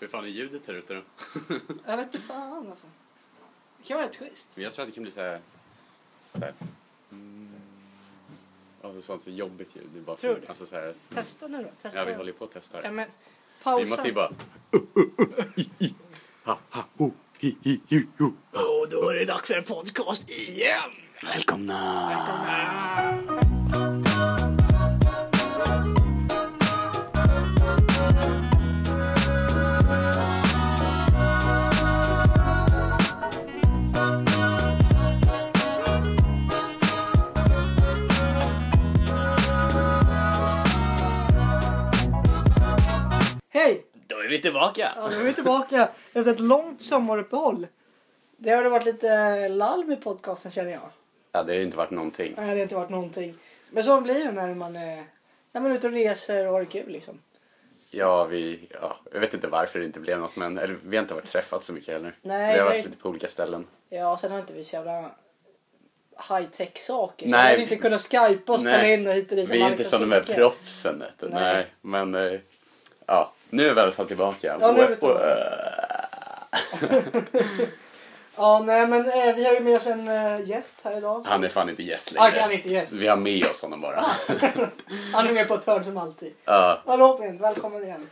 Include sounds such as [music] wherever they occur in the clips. Hur fan är ljudet här ute då? Jag vet inte fan alltså. Det kan vara rätt schysst. Men jag tror att det kan bli så här... Så här. Mm. Alltså sånt så jobbigt ljud. Det är bara Tror du? Alltså så här, Testa nu då. Testa. ja, vi håller ju på att testa ja, här. men, Vi pausa. måste ju bara... Och då är det dags för en podcast igen! Välkomna! Hej! Då är vi tillbaka! Ja, nu är vi tillbaka efter ett långt sommaruppehåll. Det har det varit lite lall med podcasten känner jag. Ja, det har ju inte varit någonting. Nej, det har inte varit någonting. Men så blir det när man, eh, när man är ute och reser och har det kul liksom. Ja, vi... Ja, jag vet inte varför det inte blev något, men... Eller vi har inte varit träffat så mycket heller. Nej, vi har det- varit lite på olika ställen. Ja, sen har inte vi så jävla high tech saker. Så Nej, vi hade vi- inte kunnat skypa och spela Nej, in och hit och dit. Vi är inte Alex som och de här Sigge. proffsen. vet du. Nej. Nej. men eh, ja, nu är vi i alla fall tillbaka. Ja, nu är vi Och- tillbaka. och, eh, Ja, nej men eh, vi har ju med oss en eh, gäst här idag. han är fan inte gäst Ah, längre. han är inte gäst. Ah. Vi har med oss honom bara. Han är med på ett hörn som alltid. [laughs] Ja, Hallå Robin, välkommen igen.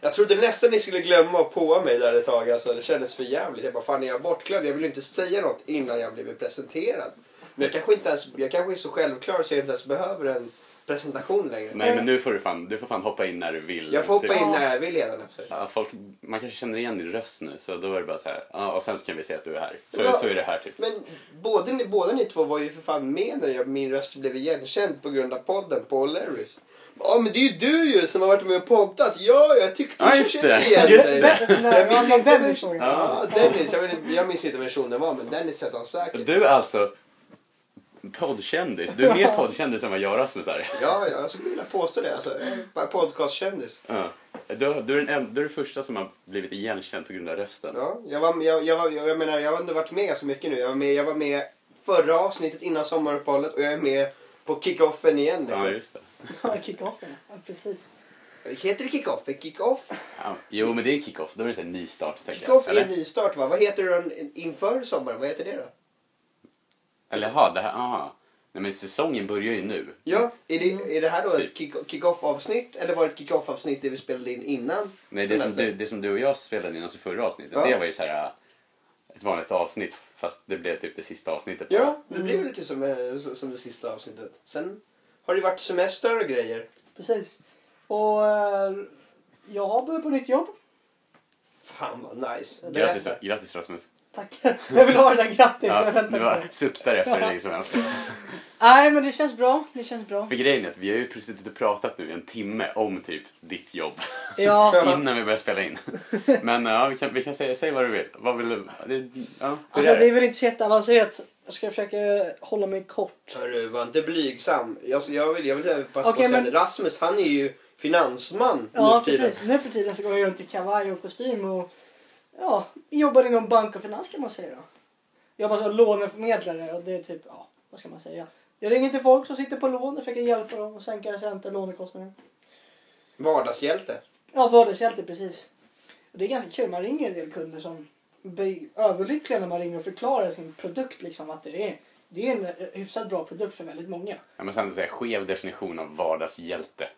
Jag trodde nästan ni skulle glömma att påa mig där ett tag. Alltså, det kändes för jävligt. Jag bara, fan är jag bortglömd? Jag vill ju inte säga något innan jag blivit presenterad. Men jag kanske, inte ens, jag kanske är så självklar så jag inte ens behöver en presentation längre. nej, Eh. men nu får du, fan, du får fan hoppa in när du vill. Jag får hoppa Du- in när jag vill redan efter. Ja, folk, man kanske känner igen din röst nu, så då är det bara så här. Ja, och sen så kan vi säga att du är här. Så, Ja. så är det här typ. Men båda ni, båda ni två var ju för fan med när jag, min röst blev igenkänd på grund av podden på O'Learys. Ja men det är ju du ju som har varit med och poddat. Ja, jag tyckte Ja, jag just kände det. igen Just dig. Den, Jag minns ja, inte den vem- personen. Ja, Dennis. Jag, vet, inte- jag minns inte vem personen var men Dennis hette han säkert. Du är alltså poddkändis. Du är mer poddkändis än vad jag är. som är så här. Ja, ja, jag skulle vilja påstå det. Alltså, jag är bara podcastkändis. Ja. Du, du, är den, en- du är den första som har blivit igenkänd på grund av rösten. Ja, jag, var, jag, jag, var- jag, jag menar, jag har ändå varit med så mycket nu. Jag var med, jag var med förra avsnittet innan sommaruppehållet och jag är med på kickoffen igen. Ja, Liksom. just det. Ja, Kick-offen, ja. ja. Precis. Heter det kickoff? Kickoff? Ja, jo, men det är kick-off. Då är det så här nystart, tänker Kickoff jag. är en Eller, nystart va? Vad heter den inför sommaren? Vad heter det då? eller ha, det här, aha. Nej, men säsongen börjar ju nu. Ja, är det, är det här då Mm. Typ. ett kick- kickoff avsnitt eller var det ett kickoff avsnitt det vi spelade in innan? Nej, det, som semestern? du, det som du och jag spelade in, alltså förra avsnittet, Ja. det var ju så här äh, ett vanligt avsnitt. Fast det blev typ det sista avsnittet. bara. Ja, det blir väl lite som, eh, som det sista avsnittet. Sen har det varit semester och grejer. Precis. Och eh, jag har börjat på nytt jobb. Fan vad nice. Grattis, Berätta. grattis Rasmus. Tackar. [laughs] Jag vill ha det där grattis. jag Ja, väntar du på bara det. suktar efter det länge som helst. [laughs] Nej, men det känns bra. Det känns bra. För grejen är att vi har ju precis suttit och pratat nu i en timme om typ ditt jobb. Ja. Innan vi började spela in. Men ja, vi kan, vi kan säga, säg vad du vill. Vad vill du? Det, ja, hur Alltså, är det är det? väl inte så jätteavancerat. Jag ska försöka hålla mig kort. Hörru, var inte blygsam. Jag, jag vill, jag vill passa Okej, på men- att säga det. Rasmus, han är ju finansman Ja, nu för tiden. precis. Nu för tiden så går jag runt i kavaj och kostym och ja, jobbar inom bank och finans kan man säga då. Jobbar som låneförmedlare och det är typ, ja, vad ska man säga? Jag ringer till folk som sitter på lån och försöker hjälpa dem och sänka räntor och lånekostnader. Vardagshjälte. Ja, vardagshjälte precis. Och det är ganska kul, man ringer en del kunder som blir överlyckliga när man ringer och förklarar sin produkt liksom att det är, det är en hyfsat bra produkt för väldigt många. Ja, men sen så här, skev definition av vardagshjälte.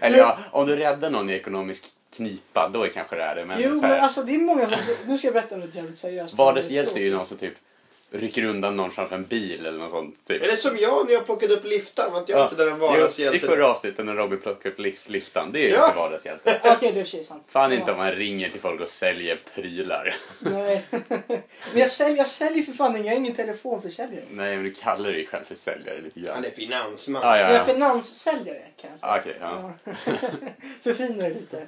Eller ja, om du räddar någon i ekonomisk knipa, då är kanske det är det. Men, jo, så här, men alltså det är många som, nu ska jag berätta något jävligt seriöst. vardagshjälte är ju någon som typ rycker undan någon framför en bil eller något sånt. Typ. Eller som jag när jag plockade upp liftan. Var inte jag Ja. inte där en Jo, I vardagshjälte? förra avsnittet när Robin plockade upp lif- liftan, det är ju Ja. inte vardagshjälte. Okej, det är i och för sig sant. Fan Ja. inte om man ringer till folk och säljer prylar. [laughs] Nej. Men jag säljer, jag säljer för fan inget. Jag är ingen telefonförsäljare. Nej, men du kallar dig själv för säljare lite grann. Han är finansman. Ah, ja, Jag är ja. finanssäljare kan jag säga. Ah, Okej, ja. Ja. [laughs] Förfinar det lite.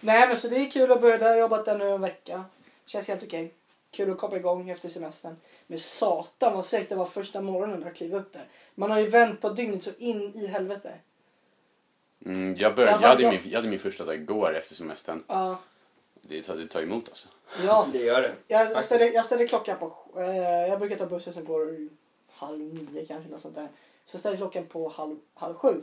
Nej men så det är kul att börja där. Jag har jobbat där nu en vecka. Känns helt okej. Kul att komma igång efter semestern. Men satan vad segt det var första morgonen att kliva upp där. Man har ju vänt på dygnet så in i helvete. Mm, jag, började, jag, Jag var- hade min, jag hade min första dag igår efter semestern. Ja. Det tar, det tar emot alltså. ja. Det gör det. Jag, jag, Faktiskt. ställer, jag ställer klockan på... Eh, jag brukar ta bussen som går halv nio kanske. Något sånt där. Så jag ställer klockan på halv, halv sju.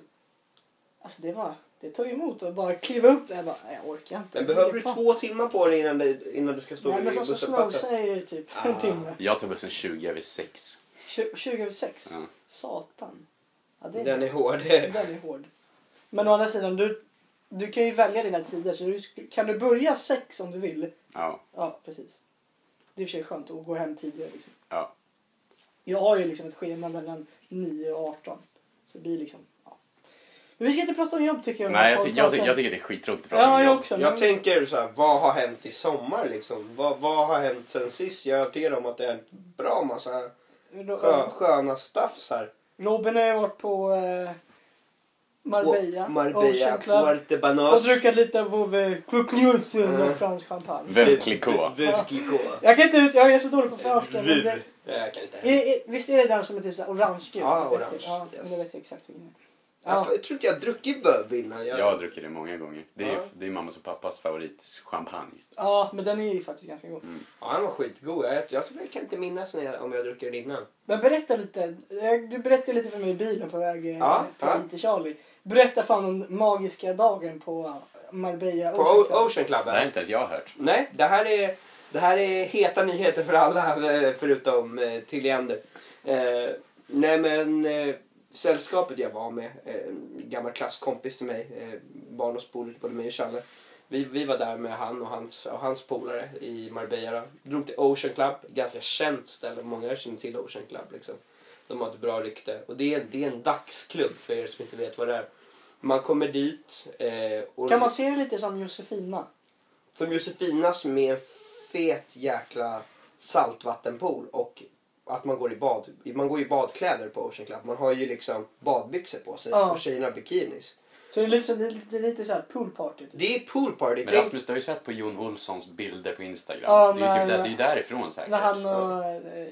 Alltså det var Det tog emot att bara kliva upp där. Jag bara, "Nej, jag orkar inte. Men behöver du Fan. två timmar på dig innan, det, innan du ska stå Nej, vid men som Snow busshållplatsen? säger typ en Ah. timme. Jag tar bussen 20 över 6. Tju- 20 över sex. Ja. Satan. Ja, det är, Den är hård. Den är hård. Men å andra sidan, du, du kan ju välja dina tider. Så du, sk- kan du börja sex om du vill? Ja, Ja, precis. Det är i och för sig skönt att gå hem tidigare. Liksom. ja. Jag har ju liksom ett schema mellan 9 och 18. Så det blir liksom... Ja. Men vi ska inte prata om jobb tycker jag. Nej, jag, ty- jag, ty- jag tycker det är skittråkigt att prata Ja, om jag jobb. också. Jag men- tänker så här, vad har hänt i sommar liksom? Vad, vad har hänt sen sist? Jag är övertygad om att det har hänt bra massa Ro- skö, sköna staffs här. Robin har ju varit på eh, Marbella, Och- Marbella, Ocean Club. Puerto Och Banos. druckit lite vovve Cluclius Mm. och fransk champagne. Vivkliko. Vivkliko. Jag kan inte ut, jag är så dålig på franska. Men Viv. det, Jag kan inte. är, är, visst är det den som är typ så här orangegul? Ja, Jag vet orange, inte. Ja, yes. men jag vet exakt vilken det är. Jag Ja, fa- jag tror inte jag har druckit böb innan. Jag, Jag har druckit det många gånger. Det är, Ja. det är mammas och pappas favoritchampagne. ja, men den är ju faktiskt ganska god. Ja, den var skitgod. Jag, jag, jag kan inte minnas när jag, om jag druckit den innan. Men berätta lite. Jag- Du berättade lite för mig i bilen på väg eh, Ja, på ja. IT Charlie. Berätta fan om den magiska dagen på Marbella På Ocean Ocean, Club. Ocean Club. Det här har inte ens jag hört. Nej, det här är, det här är heta nyheter för alla eh, förutom eh, till Leander. Eh, nej men eh, sällskapet jag var med, eh, en gammal klasskompis till mig, eh, barndomspolare till både mig och Challe. Vi, vi var där med han och hans, och hans polare i Marbella. då. Drog till Ocean Club, ganska känt ställe. Många känner till Ocean Club liksom. De har ett bra rykte. Och det är, det är en dagsklubb för er som inte vet vad det är. Man kommer dit. Eh, och Kan man se det lite som Josefina? som Josefinas med en fet jäkla saltvattenpool och att man går i bad. Man går i badkläder på Ocean Club. Man har ju liksom badbyxor på sig Ja. och tjejerna bikinis. Så det är lite, som- det är lite, lite så här poolparty. typ. Det är pool party. Men Rasmus, du har ju sett på Jon Olssons bilder på Instagram. Ja, det, är ju typ men- där, det är ju därifrån säkert. När han och eh,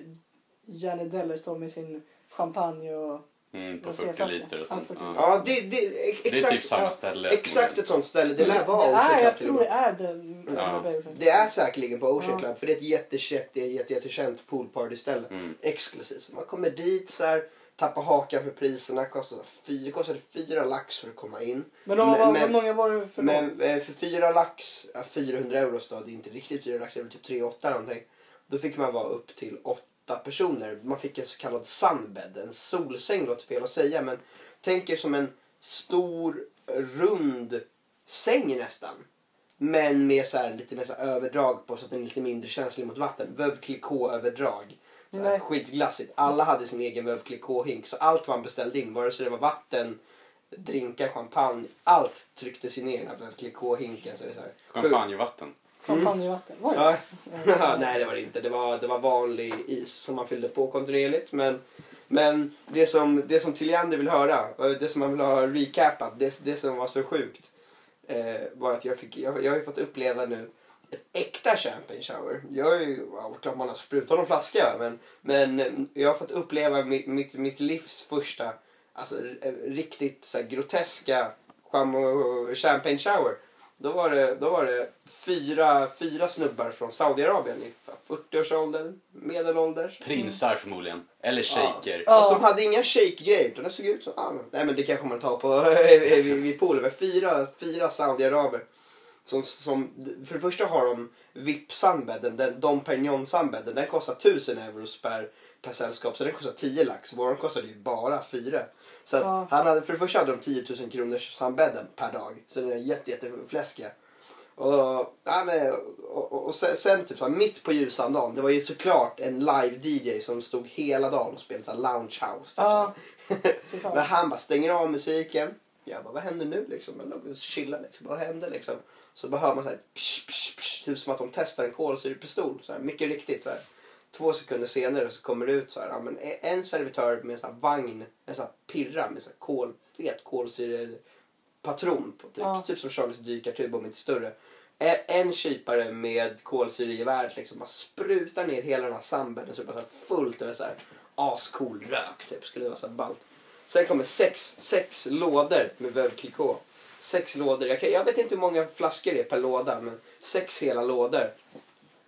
Jenny Deller står med sin champagne och... Mm, på Jag ser 40 fast- liter och ja, sånt. 40 Ja. Ja, det, det, ex- Det är exakt, typ samma ja, ställe. exakt ett sånt ställe. Det lär Mm. vara det Ocean är, Club. jag till och tror det med. är den. Ja. Marbella Ocean Club. Det är säkerligen på Ocean Ja. Club för det är ett jättekänt, det är ett jätte, jättekänt poolpartyställe. Mm. Exklusivt. Så Man kommer dit så här, tappar hakan för priserna. Kostar fyra, kostade fyra lax för att komma in. Men de, vad, Men- vad många var det för dem? Men eh, för fyra lax, ja, 400 euro då, det är inte riktigt fyra lax, det är väl typ 3,8 någonting. Då fick man vara upp till åtta personer. Man fick en så kallad sunbed, en solsäng låter fel att säga men tänk er som en stor rund säng nästan. Men med så här, lite mer så här överdrag på så att den är lite mindre känslig mot vatten. Veuve Clicquot-överdrag. Så här Nej. Skitglassigt. Alla hade sin egen Veuve Clicquot-hink så allt man beställde in, vare sig det var vatten drinkar, champagne, allt trycktes ju ner i den här Veuve Clicquot-hinken. Så det är så här, Champagnevatten. Mm. Champagnevatten? Var det? Ja. [laughs] Nej, det var det inte. Det var, det var vanlig is som man fyllde på kontinuerligt. Men, men det som, det som Tilliander vill höra, och det som man vill ha recapat, det, det som var så sjukt eh, var att jag, fick, jag, jag har ju fått uppleva nu ett äkta champagne shower. Jag är ju, ja, klart man har sprutat någon flaska men, men eh, jag har fått uppleva mitt, mitt, mitt livs första alltså, eh, riktigt så här, groteska cham- champagne shower. Då var det, då var det fyra, fyra snubbar från Saudiarabien i 40-årsåldern, medelålders. Prinsar förmodligen. Eller shaker. Ja. Och som hade inga shake-grejer utan det såg ut som, ah, men- nej men det kanske man tar på [laughs] vid, vid poolen. Men fyra, fyra saudiaraber. Som, som, för det första har de VIP-sandbädden, den, de Perignon-sandbädden, den kostar 1000 euro per, per sällskap. Så den kostar 10 lax. Våran kostade ju bara 4. Så att Ja. han hade, för det första hade de 10 000 kronors sandbädden per dag. Så den är jätte, jättefläskiga. Och, ja, men, och, och, och sen, sen typ så här, mitt på ljusan dagen, det var ju såklart en live-DJ som stod hela dagen och spelade så här, lounge house. Typ, Ja. så fy här. fan. [laughs] Men han bara stänger av musiken. Jag bara, vad händer nu liksom? Jag låg och chillade liksom. Vad händer liksom? Så bara hör man så här, psh, psh, psh, typ som att de testar en kolsyrepistol. Så här, mycket riktigt så här. Två sekunder senare så kommer det ut så här, ja, men e- en servitör med en sån här vagn, en sån här pirra med så här kol, fet kolsyre patron. På, typ, Ja. typ som Charlies dykartub om inte större. En, en kypare med kolsyregevär liksom bara sprutar ner hela den här sambeln så det bara så här fullt och det är så här ascool rök typ. Skulle vara så här ballt. Sen kommer sex, sex lådor med Veuve Clicquot. Sex lådor. Jag, kan, jag vet inte hur många flaskor det är per låda men sex hela lådor.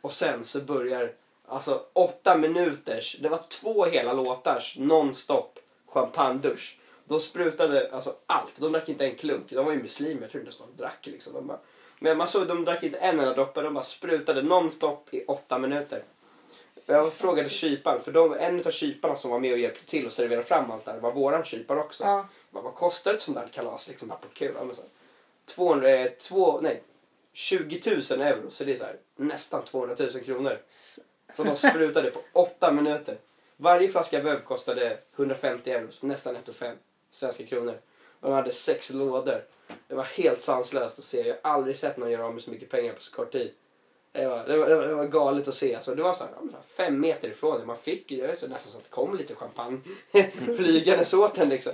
Och sen så börjar alltså åtta minuters, det var två hela låtars nonstop champagne-dusch. De sprutade alltså allt. De drack inte en klunk. De var ju muslimer. Jag tror inte ens de drack. Liksom. De bara... Men man såg de drack inte en enda droppe. De bara sprutade nonstop i åtta minuter. Och Jag frågade kyparen, för de, en av kyparna som var med och hjälpte till och serverade fram allt det här var våran kypare också. Ja. Bara, vad kostar ett sånt där kalas liksom, här på Kuba? Men så här, 200, eh, två, nej, 20 000 euro, så det är så här, nästan 200 000 kronor. Som de sprutade på åtta minuter. Varje flaska vöv kostade 150 euro, så nästan 1 5 svenska kronor. Och de hade sex lådor. Det var helt sanslöst att se. Jag har aldrig sett någon göra av med så mycket pengar på så kort tid. Det var, det var, det var galet att se. Alltså, det var så här, ja, men fem meter ifrån. Man fick ju det var så nästan så att det kom lite champagne [laughs] flygandes åt en. Liksom.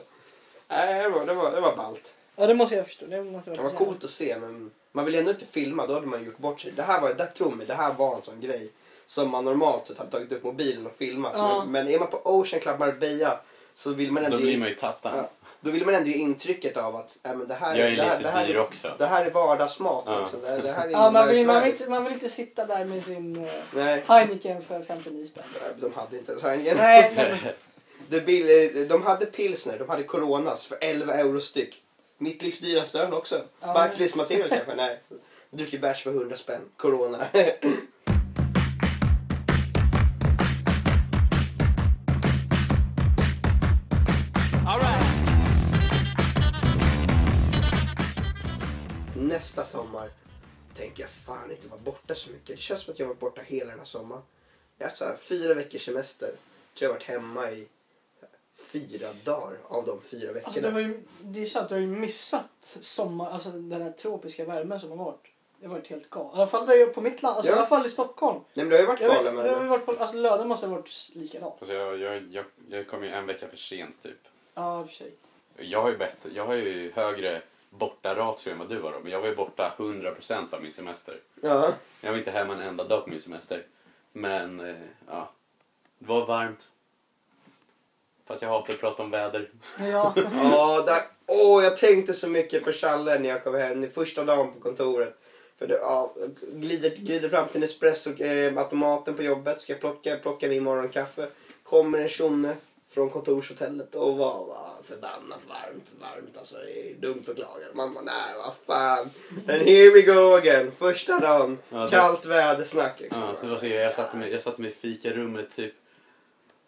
Nej, det, var, det, var, det var ballt. Ja, det måste jag förstå. Det måste jag Det var förstå. coolt att se men man vill ändå inte filma. Då hade man gjort bort sig. Det här var, där tror mig, det här var en sån grej som man normalt sett hade tagit upp mobilen och filmat. Ja. Men, men är man på Ocean Club Marbella så vill man ändå Då blir ge- man ju tattan. Ja, då vill man ändå ge intrycket av att äh, men det här Jag är det här, lite det här, dyr också. Det här är vardagsmat. Ja. Liksom. Det, här- det här är Ja, man vill, man, vill märkvärdigt. inte, man vill inte sitta där med sin eh, Nej, Heineken för 59 spänn. de hade inte ens Heineken. Nej, nej, men- Det bill- eh, de hade pilsner, de hade coronas för 11 euro styck. Mitt livs dyraste öl också. Ja. Barclays Material kanske? Nej. Dricker bärs för 100 spänn. Corona. Nästa sommar tänker jag fan inte vara borta så mycket. Det känns som att jag har varit borta hela den här sommaren. Jag har haft så här fyra veckors semester. Jag tror jag har varit hemma i fyra dagar av de fyra alltså, du har veckorna. ju, det är så att du har ju missat sommar, alltså den här tropiska värmen som har varit. Det har varit helt galet. I alla fall där jag på mitt land, alltså, Ja. i alla fall i Stockholm. Nej men det har ju varit Jag galen vet, det har ju väder. varit på, alltså lördag måste ha varit likadant. Alltså jag, jag, jag, jag kom ju en vecka för sent typ. Ja, i och för sig. Jag har ju, bett, jag har ju högre borta ratio än vad du har då, men jag var ju borta 100% av min semester. Ja. Jag var inte hemma en enda dag på min semester. Men, eh, ja. Det var varmt. Fast jag hatar att prata om väder. Ja. Ja, där, åh, jag tänkte så mycket på Challe när jag kom hem. Den första dagen på kontoret. För det, ja, glider, glider fram till Nespresso-automaten på jobbet. Ska plocka, plocka min morgonkaffe. Kommer en tjomme från kontorshotellet och var, var förbannat varmt, varmt. Alltså, det är dumt att klaga. Man bara, nej, vad fan. And here we go again. Första dagen. Ja, det- Kallt vädersnack liksom. Ja, det var så, jag, satte mig, jag satte mig i fikarummet typ.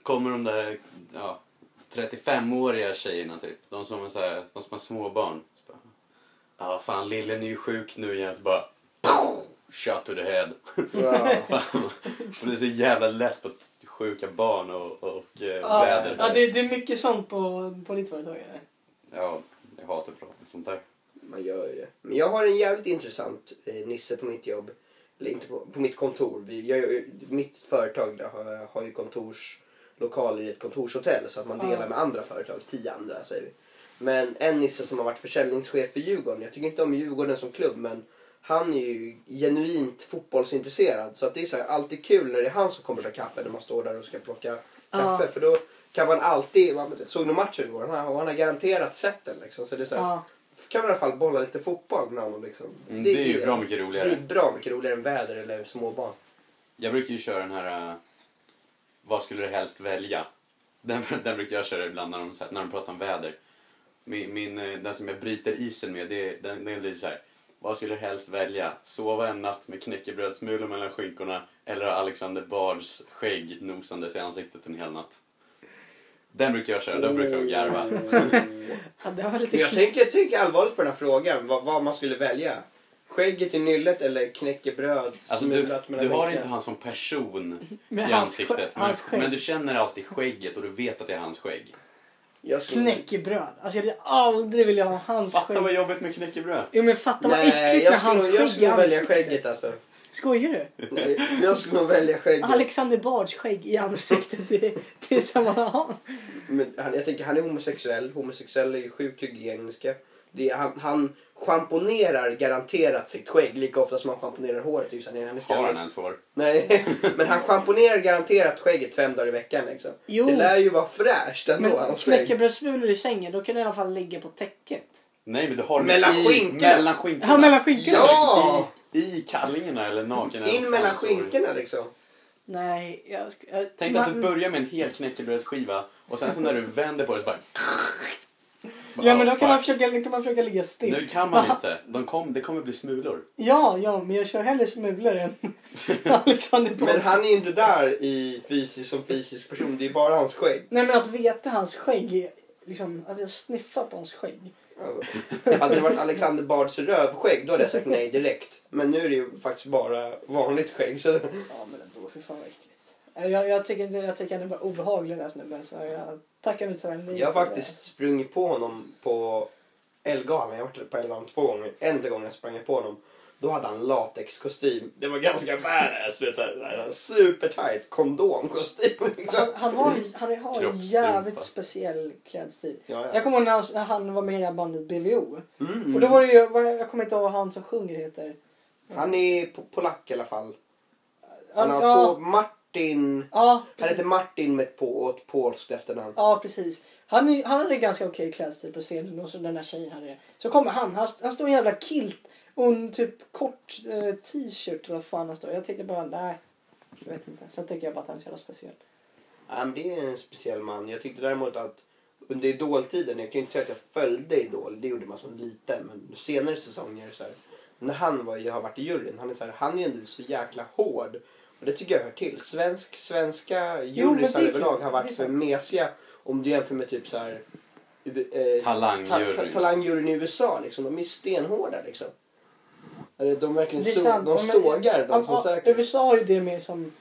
Kommer de där ja, 35-åriga tjejerna typ. De som, är så här, de som har småbarn. Så bara, Ja, fan lillen är ju sjuk nu igen. Så bara... Shut to the head. [laughs] Ja. Fan. Man är så jävla less på sjuka barn och, och eh, Ja, väder. ja, det, det är mycket sånt på, på ditt företag. Eller? Ja, jag hatar att prata om sånt där. Man gör ju det. Men jag har en jävligt intressant eh, nisse på mitt jobb. Eller inte på, på mitt kontor. Vi, jag, mitt företag där har, har ju kontorslokaler i ett kontorshotell så att man Ja. delar med andra företag. Tio andra säger vi. Men en nisse som har varit försäljningschef för Djurgården. Jag tycker inte om Djurgården som klubb men han är ju genuint fotbollsintresserad. Så att det är så här, alltid kul när det är han som kommer ta kaffe när man står där och ska plocka kaffe. Ja. För då kan man alltid, man, såg ni matchen igår? Han har, och han har garanterat sett den liksom. Så det är så här, Ja. kan man i alla fall bolla lite fotboll med honom. Liksom. Mm, det, är ju bra mycket roligare. Det är bra mycket roligare än väder eller småbarn. Jag brukar ju köra den här... eh, vad skulle du helst välja? Den, den brukar jag köra ibland när de, så här, när de pratar om väder. Min, min, eh, den som jag bryter isen med, det, är- den, den lyder så här. Vad skulle du helst välja? Sova en natt med knäckebrödsmulor mellan skinkorna eller ha Alexander Bards skägg nosandes i ansiktet en hel natt? Den brukar jag köra, den brukar de garva. Oh. Ja, det var lite Men jag kul. tänker, jag tänker allvarligt på den här frågan. Vad, vad man skulle välja. Skägget i nyllet eller knäckebröd Alltså, du, smulat mellan du har vinkarna? inte han som [laughs] person Med i hans skä- ansiktet, men, hans skägg. men du känner alltid skägget och du vet att det är hans skägg. Jag skulle- Knäckebröd. Alltså jag hade aldrig velat ha hans Fatta vad skägg. jobbigt med knäckebröd. Jo men fatta vad Nej, äckligt jag med skulle, hans nog- jag skägg i skulle välja ansiktet. skägget alltså. Skojar du? Nej, jag skulle nog välja skägget. Alexander Bards skägg i ansiktet. Det, det är samma han. Men han, jag tänker, han är homosexuell. Homosexuella är ju sjukt hygieniska. Det är, han, han schamponerar garanterat sitt skägg lika ofta som han schamponerar håret. Just, han är, han är Har skallig. han ens hår? Nej, [laughs] men han schamponerar garanterat skägget fem dagar i veckan. Liksom. Jo. Det lär ju vara fräscht ändå, Men hans skägg. knäckebrödsmulor i sängen, då kan du i alla fall ligga på täcket. Nej men du har dem Mellan i, skinkorna. mellan skinkorna. Ja, mellan skinkorna. Ja! I, I kallingarna eller naken. In mellan skinkorna liksom. Nej, jag... Ska, jag Tänk dig att du börjar med en hel knäckebrödsskiva och sen så när du vänder på det så bara... [laughs] Ja men då kan man, fuck. försöka, då kan man försöka ligga still. Nu kan [laughs] man inte. De kom, det kommer bli smulor. Ja, ja, men jag kör hellre smulor än [laughs] Alexander Men Bard. han är ju inte där i fysisk, som fysisk person. Det är bara hans skägg. Nej men att veta hans skägg, är liksom att jag sniffar på hans skägg. Alltså. Hade det varit Alexander Bards rövskägg då hade jag sagt nej direkt. Men nu är det ju faktiskt bara vanligt skägg. Så... Ja men ändå, fy fan vad äckligt. Äh, Jag, jag, tycker inte, jag tycker han är bara obehaglig den här snubben så jag tackar nu tyvärr nej Jag har till faktiskt sprungit på honom på Elgalan. Jag har varit på Elgalan två gånger. En gången jag sprang på honom. Då hade han latexkostym. Det var ganska badass. du vet, så här- så här Supertight kondomkostym. det. Liksom. Han, han har, ju- han har en Kroppsstrumpa. jävligt speciell klädstil. Ja, Jag ja. kommer ihåg när han, när han var med i det här bandet BVO. Mm. Och då var det ju, vad- jag kommer inte ihåg vad han som sjunger heter. Han är po- polack i alla fall. Han har på Ja, Martin... ja, Han heter Martin med ett på och ett polskt efternamn. Ja, precis. Han, är- han hade ganska okej klädstil på scenen och så den där tjejen hade det. Så kommer han, han, han står i en jävla kilt och en typ kort eh, t-shirt eller vad fan han står. Jag tänkte bara, nej. Jag vet inte. Sen tänker jag bara att han är så jävla speciell. Ja, men det är en speciell man. Jag tyckte däremot att under idoltiden, jag kan ju inte säga att jag följde idol, det gjorde man som liten, men senare säsonger så här, när han var, jag har varit i juryn, han är så här, han är ju ändå så jävla hård. Och det tycker jag hör till. Svensk, svenska men jurysar det är överlag klart, har det är varit för sant. mesiga om du jämför med typ så här eh, Talangjuryn. ta, ta, talangjuryn i USA liksom. De är stenhårda liksom. Eller de verkligen Det är så, sant. de Ja, men- sågar de Ja, som ja, söker. USA har ju det mer som,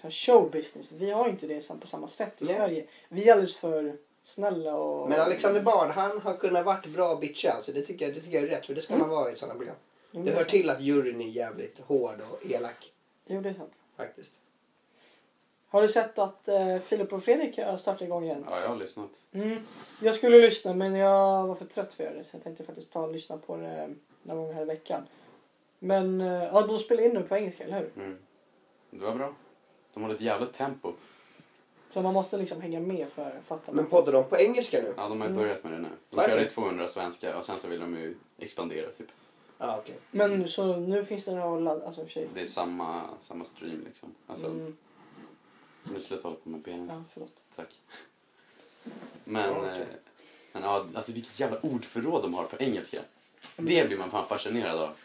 som showbusiness. Vi har ju inte det som på samma sätt i Nej. Sverige. Vi är alldeles för snälla och... Men Alexander Bard, han har kunnat varit bra bitch alltså. Det tycker jag, det tycker jag är rätt, för det ska man vara i sådana program. Jo, Det är hör sant. till att juryn är jävligt hård och elak Jo, det är sant. faktiskt. Har du sett att eh, Filip och Fredrik har startat igång igen? Ja, jag har lyssnat. Mm. Jag skulle lyssna men jag var för trött för att göra det så jag tänkte faktiskt ta och lyssna på det någon gång här i veckan. Men eh, ja, de spelar in nu på engelska, eller hur? Mm. Det var bra. De hade ett jävla tempo. Så man måste liksom hänga med för att fatta. Men poddar de på engelska nu? Ja, de har ju Mm. börjat med det nu. De Varför? körde 200 svenska och sen så vill de ju expandera typ. Ja, okej. Men så nu finns det några ladd... Alltså i och för sig. Det är samma, samma stream liksom. Alltså, Mm, nu slutar hålla på med benen. ja, förlåt. Tack. Men, Ja, okej. eh, men ja, alltså vilket jävla ordförråd de har på engelska. Det blir man fan fascinerad av. Mm.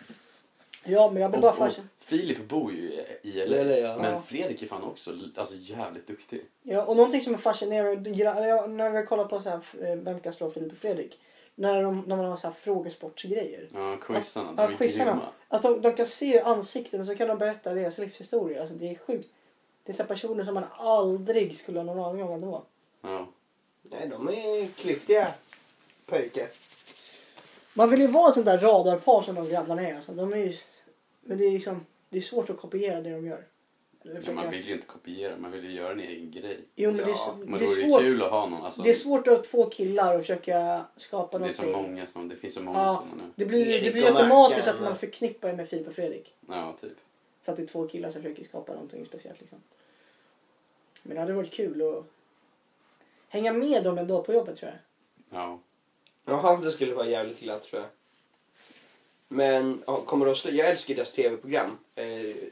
Ja, men jag blir bara Och- och fascinerad. Filip bor ju i- i LA. Eller ja. Men Ja. Fredrik är fan också l- alltså, jävligt duktig. Ja, och någonting som är fascinerande, gra- jag- när jag kollar på så här, eh, Vem kan slå Filip och Fredrik? När de, när man har så här frågesportsgrejer. Ja, quizarna. Ja, de är quizarna. grymma. Att de, de kan se ansikten och så kan de berätta deras livshistorier. Alltså det är sjukt. Det är så här personer som man aldrig skulle ha någon aning om ändå. Ja. Nej, de är klyftiga pöjke. Man vill ju vara ett sånt där radarpar som de grabbarna är. Alltså de är ju, men det är, liksom, det är svårt att kopiera det de gör. Eller Men försöka- man vill ju inte kopiera, man vill ju göra en egen grej. jo, men det, Ja, är, Men det, det är vore ju svårt, kul att ha någon. Alltså, det är svårt att få killar och försöka skapa det är så någonting. många som, det finns så många Ja. sådana nu. det blir, det Erik blir och automatiskt Mackan. att man förknippar det med Filip och Fredrik. Ja, typ. För att det är två killar som försöker skapa någonting speciellt. Liksom. Men det hade varit kul att hänga med dem en dag på jobbet tror jag. Ja. Jaha, det skulle vara jävligt glatt tror jag. Men ja, kommer de slu- jag älskar deras tv-program. Eh,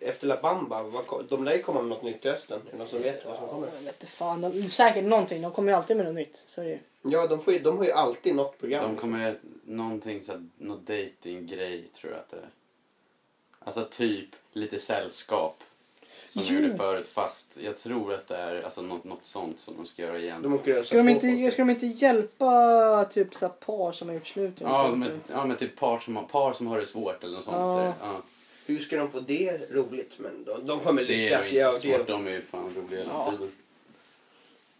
efter La Bamba, vad, ko- de lär ju komma med något nytt i hösten. Är det någon som vet vad som kommer? Jag vet inte fan, de, säkert någonting. De kommer ju alltid med något nytt. Så är det ju. Ja, de, får ju, de har ju alltid något program. De kommer någonting så här, någon dating-grej tror jag att det är. Alltså typ lite sällskap. Som de Jo. gjorde förut fast jag tror att det är alltså, något, något sånt som de ska göra igen. De åker och hälsar Ska de, på inte, folk. ska de inte hjälpa typ så här par som har gjort slut? eller Ja, något? men, ja, men typ par som, har, par som har det svårt eller något sånt. Ja. där. Ja. Hur ska de få det roligt? Men de, de kommer Det är nog lyckas. inte jag- så svårt, de är ju fan roliga hela Ja. tiden.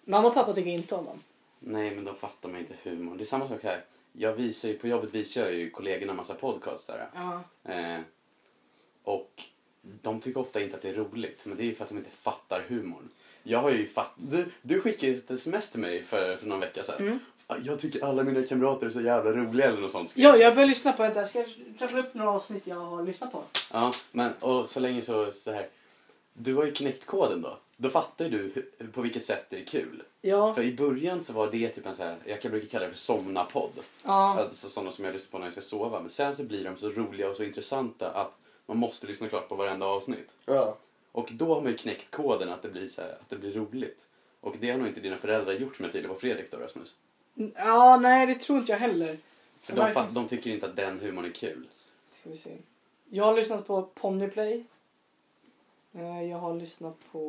Mamma och pappa tycker inte om dem. Nej, men de fattar mig inte humor. Det är samma sak här. Jag visar ju, på jobbet visar jag ju kollegorna massa podcastar. Ja. Eh, och de tycker ofta inte att det är roligt, men det är ju för att de inte fattar humorn. Jag har ju fatt... Du, du skickade ju ett sms till mig för, för någon vecka sedan. Mm. Ah, Jag tycker alla mina kamrater är så jävla roliga eller något sånt. skrev ja, jag börjar lyssna på det. Jag ska rabbla upp några avsnitt jag har lyssnat på. Ja, men och så länge så, så här. Du har ju knäckt koden då. Då fattar ju du hu- på vilket sätt det är kul. Ja. För i början så var det typ en så här, jag kan brukar kalla det för somna-podd. ja. Alltså sådana som jag lyssnar på när jag ska sova. Men sen så blir de så roliga och så intressanta att man måste lyssna klart på varenda avsnitt. Ja. Och då har man ju knäckt koden att det blir, så här, att det blir roligt. Och det har nog inte dina föräldrar gjort med Filip och Fredrik då, Rasmus. Ja, nej det tror inte jag heller. För de, fatt, de tycker inte att den humorn är kul. Ska vi se. Jag har lyssnat på Ponyplay. Eh, Jag har lyssnat på...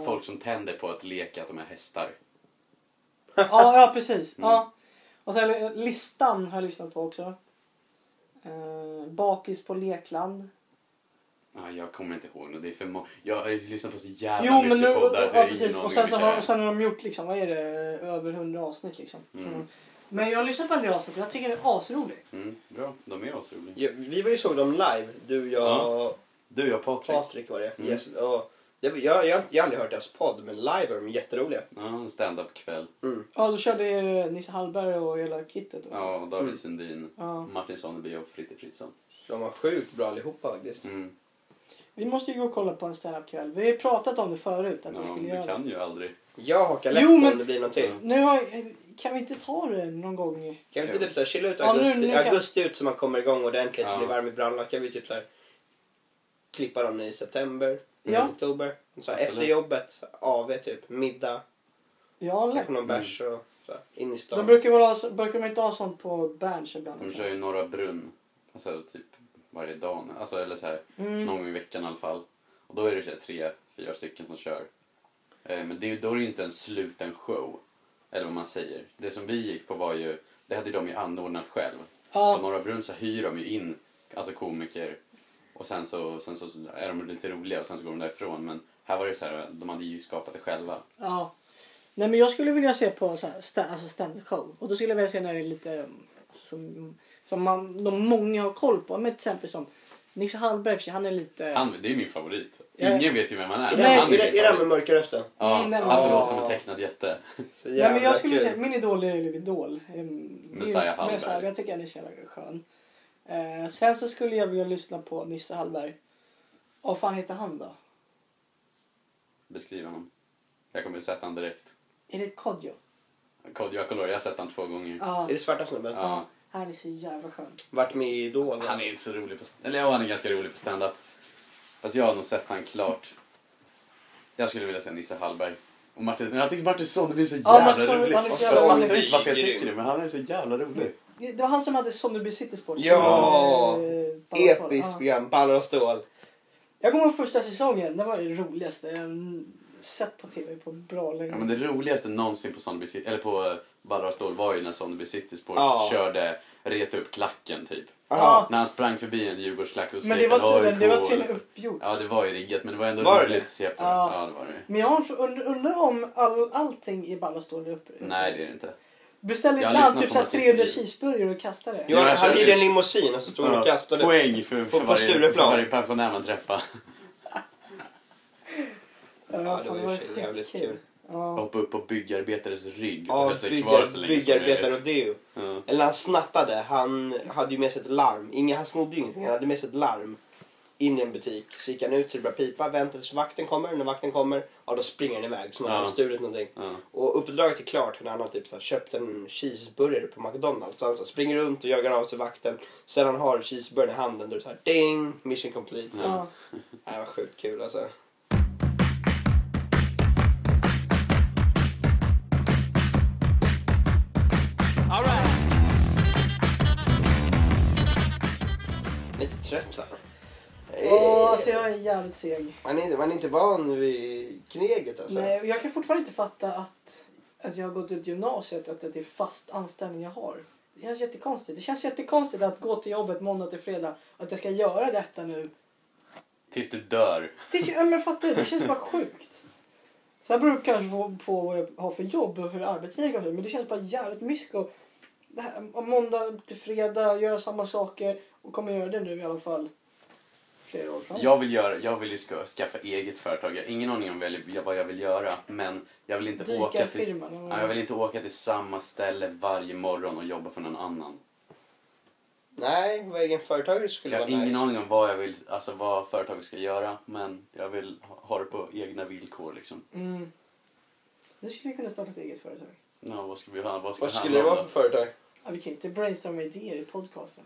eh, Folk som tänder på att leka att de är hästar. Ja, ja precis. Mm. Ja. Och sen eh, listan har jag lyssnat på också. Eh, bakis på lekland. Ja, jag kommer inte ihåg nu. Det är för må- jag har ju lyssnat på så jävla jo, men mycket nu... poddar. så jag Ja, har ingen precis. aning Och om sen, så vilka har, det och är. sen har de gjort liksom, vad är det, över hundra avsnitt liksom. Mm. Men jag har lyssnat på en del avsnitt och jag tycker den är asrolig. Mm, bra, de är asroliga. Ja, Vi var ju såg dem live, du, jag Ja. och Du, jag och Patrik. Patrik var det. Mm. Yes, och det var, jag, jag, jag har aldrig hört deras podd, men live var de jätteroliga. Ja, en stand-up-kväll. Mm. Ja, då körde ju Nisse Hallberg och hela kittet. då. Ja, David Mm. Sundin, Ja. Martin Sonneby och Fritte Fritzson. De var sjukt bra allihopa faktiskt. Mm. Vi måste ju gå och kolla på en stand-up kväll. Vi har ju pratat om det förut att vi Ja, skulle du göra det. kan ju aldrig. Jag hakar lätt Jo, på men- om det blir någon till. Nu har, kan vi inte ta det någon gång? Mm. i- Kan vi inte Jo. typ så här, chilla ut Ja, nu- augusti, nu kan- augusti ut så man kommer igång ordentligt, Ja. blir varm i brallorna. Kan vi typ så här, klippa dem i september, Ja. oktober. Så här, Absolut. efter jobbet, så här, AV typ, middag, Ja, lätt. kanske någon Mm. bärs och så här, in i De stan. brukar, väl ha, brukar man inte ha sånt på Berns ibland? De kör ju Norra Brunn. Alltså typ varje dag. nu. Alltså, eller så här, mm. någon gång i veckan i alla fall. Och då är det så här, tre, fyra stycken som kör. Eh, men det, är- då är det ju inte en sluten show. Eller vad man säger. Det som vi gick på var ju, det hade de ju anordnat själv. På ja, Norra Brunn så hyr de ju in alltså komiker och sen så, sen så är de lite roliga och sen så går de därifrån. Men här var det så här, de hade ju skapat det själva. ja. Nej, men jag skulle vilja se på så här, stand, alltså stand show. Och då skulle jag vilja se när det är lite mm, som, som man, de många har koll på. Men till exempel som Nisse Hallberg, för sig, han är lite... Han, det är min favorit. Ja. Ingen vet ju vem han är. Är men det han är är det- är min det här med favorit. mörka rösten? Ja, Mm, nej, men- alltså Ja. låter som en tecknad jätte. [laughs] Så Nej, jävla men jag skulle kul. säga, min idol är Ulf Idol. Ehm, det är ju Messiah mer Hallberg. så här, Jag tycker han är så jävla skön. Eh, sen så skulle jag vilja lyssna på Nisse Hallberg. Vad fan heter han då? Beskriv honom. Jag kommer att sätta honom direkt. Är det Kodjo? Kodjo Akolor, jag har sett honom två gånger. Ja. Är det svarta snubben? Ja. ja. Han är så jävla skön. Vart med i Idol? va? Han är inte så rolig på Eller ja, han är ganska rolig på stand-up. Fast jag har nog sett han klart. Jag skulle vilja se Nisse Hallberg. Och Martin, men jag tycker Martin Sonneby är så Ja, jävla Martin Sonneby, rolig. han är så Och jävla jag fattar rolig. inte varför jag Grym. tycker det, men han är så jävla rolig. Det var han som hade Sonneby City Sports. Ja! Eh, Ballasol. Episkt Ja. program, ballar och stål. Jag kommer ihåg första säsongen. Det var det roligaste jag sett på tv på bra länge. Ja, men det roligaste någonsin på Sonneby City, eller på eh, Ballar och Stål var ju när Sonneby City Sports Ja. körde reta upp klacken typ. Aha. När han sprang förbi en Djurgårdsklack och Men det skrek var "AIK" tydligen, det var och tydligen så. uppgjort. Ja, det var ju riggat men det var ändå Var det roligt det? att se på. Ja. Ja, det var det. Men jag har en fr- und- undrar om all, allting i Ballastål är uppe. Nej, det är det inte. Beställ Jag inte har han lyssnat typ på såhär massa 300 intervjuer. cheeseburgare och kastar det? Ja, Jo, han jag han kör hyrde en ut. limousin och så stod han och gafflade. Poäng för, för, på varje, för Stureplan. varje pensionär man träffar. Ja, det fan, var i och för sig jävligt skitkul. kul. Ja. Hoppa upp på byggarbetares rygg och Ja, höll sig kvar så byggar, länge som byggarbetare och möjligt. deo. Ja. Eller han snattade. Han hade ju med sig ett larm. Ingen, han snodde ju ingenting. Han hade med sig ett larm. In i en butik. Så gick han ut så det började pipa. Väntade tills vakten kommer. När vakten kommer, ja då springer han iväg. Som att han Ja. har stulit någonting. Ja. Och uppdraget är klart när han har typ så här, köpt en cheeseburgare på McDonalds. Så han så här, springer runt och jagar av sig vakten. Sen han har cheeseburgaren i handen då är det så här ding, mission complete. Ja. Ja. Det var sjukt kul alltså. Lite trött va? Eh, Åh, alltså jag är jävligt seg. Man är, inte- man är inte van vid kneget alltså. Nej, och jag kan fortfarande inte fatta att, att jag har gått ut gymnasiet och att det är fast anställning jag har. Det känns jättekonstigt. Det känns jättekonstigt att gå till jobbet måndag till fredag och att jag ska göra detta nu. Tills du dör. Det, kän- ja, men fattar du? det känns bara sjukt. Sen beror det kanske på, på vad jag har för jobb och hur arbetstiden går till, men det känns bara jävligt mysko. Det här, om måndag till fredag, göra samma saker och kommer göra det nu i alla fall flera år framåt. Jag vill, göra, jag vill ju ska, skaffa eget företag. Jag har ingen aning om vad jag- vad jag vill göra men jag vill inte åka till, Dykarfirman. eller vad ja, det jag är. vill inte åka till samma ställe varje morgon och jobba för någon annan. Nej, vara egen företagare skulle Jag har vara ingen nice. aning om vad jag vill, alltså vad företaget ska göra men jag vill ha- ha det på egna villkor liksom. Mm. Nu skulle vi kunna starta ett eget företag. Ja, vad ska vi ha? Vad ska, Vad skulle det vara för företag? Ja, vi kan inte brainstorma idéer i podcasten.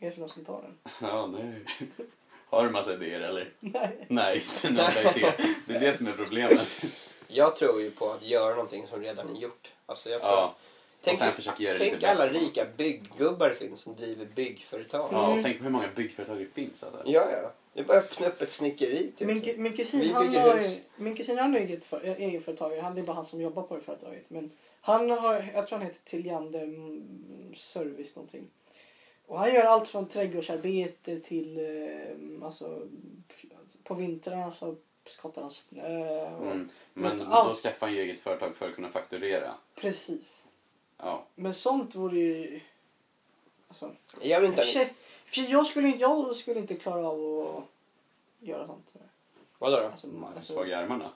Kanske någon som tar den. för... Ja, nej. [laughs] Har du massa idéer eller? Nej. Nej, inte en enda idé. Det är [laughs] det som är problemet. Jag tror ju på att göra någonting som redan är gjort. Alltså jag tror Ja. Tänk, sen försöker göra det tänk lite alla bättre. rika bygggubbar det finns som driver byggföretag. Ja, Ja, och tänk på hur många byggföretag det finns. Alltså. ja. Det är bara att öppna upp ett snickeri. Typ. Min, ku- min Vi kusin, han bygger har, hus. min kusin han är eget för, är egenföretagare. Han, det är bara han som jobbar på det företaget. Men han har, jag tror han heter Tilliander mm, Service någonting. Och han gör allt från trädgårdsarbete till eh, alltså, på vintrarna så skottar han snö. och- Mm. Men Men då allt- skaffar han ju eget företag för att kunna fakturera. Precis. Ja. Men sånt vore ju... Alltså, Jag vill i och för inte... sig- för jag, skulle, inte- jag skulle inte klara av att göra sånt. tror jag. Vadå då? Alltså, ma- alltså, Svaga i armarna.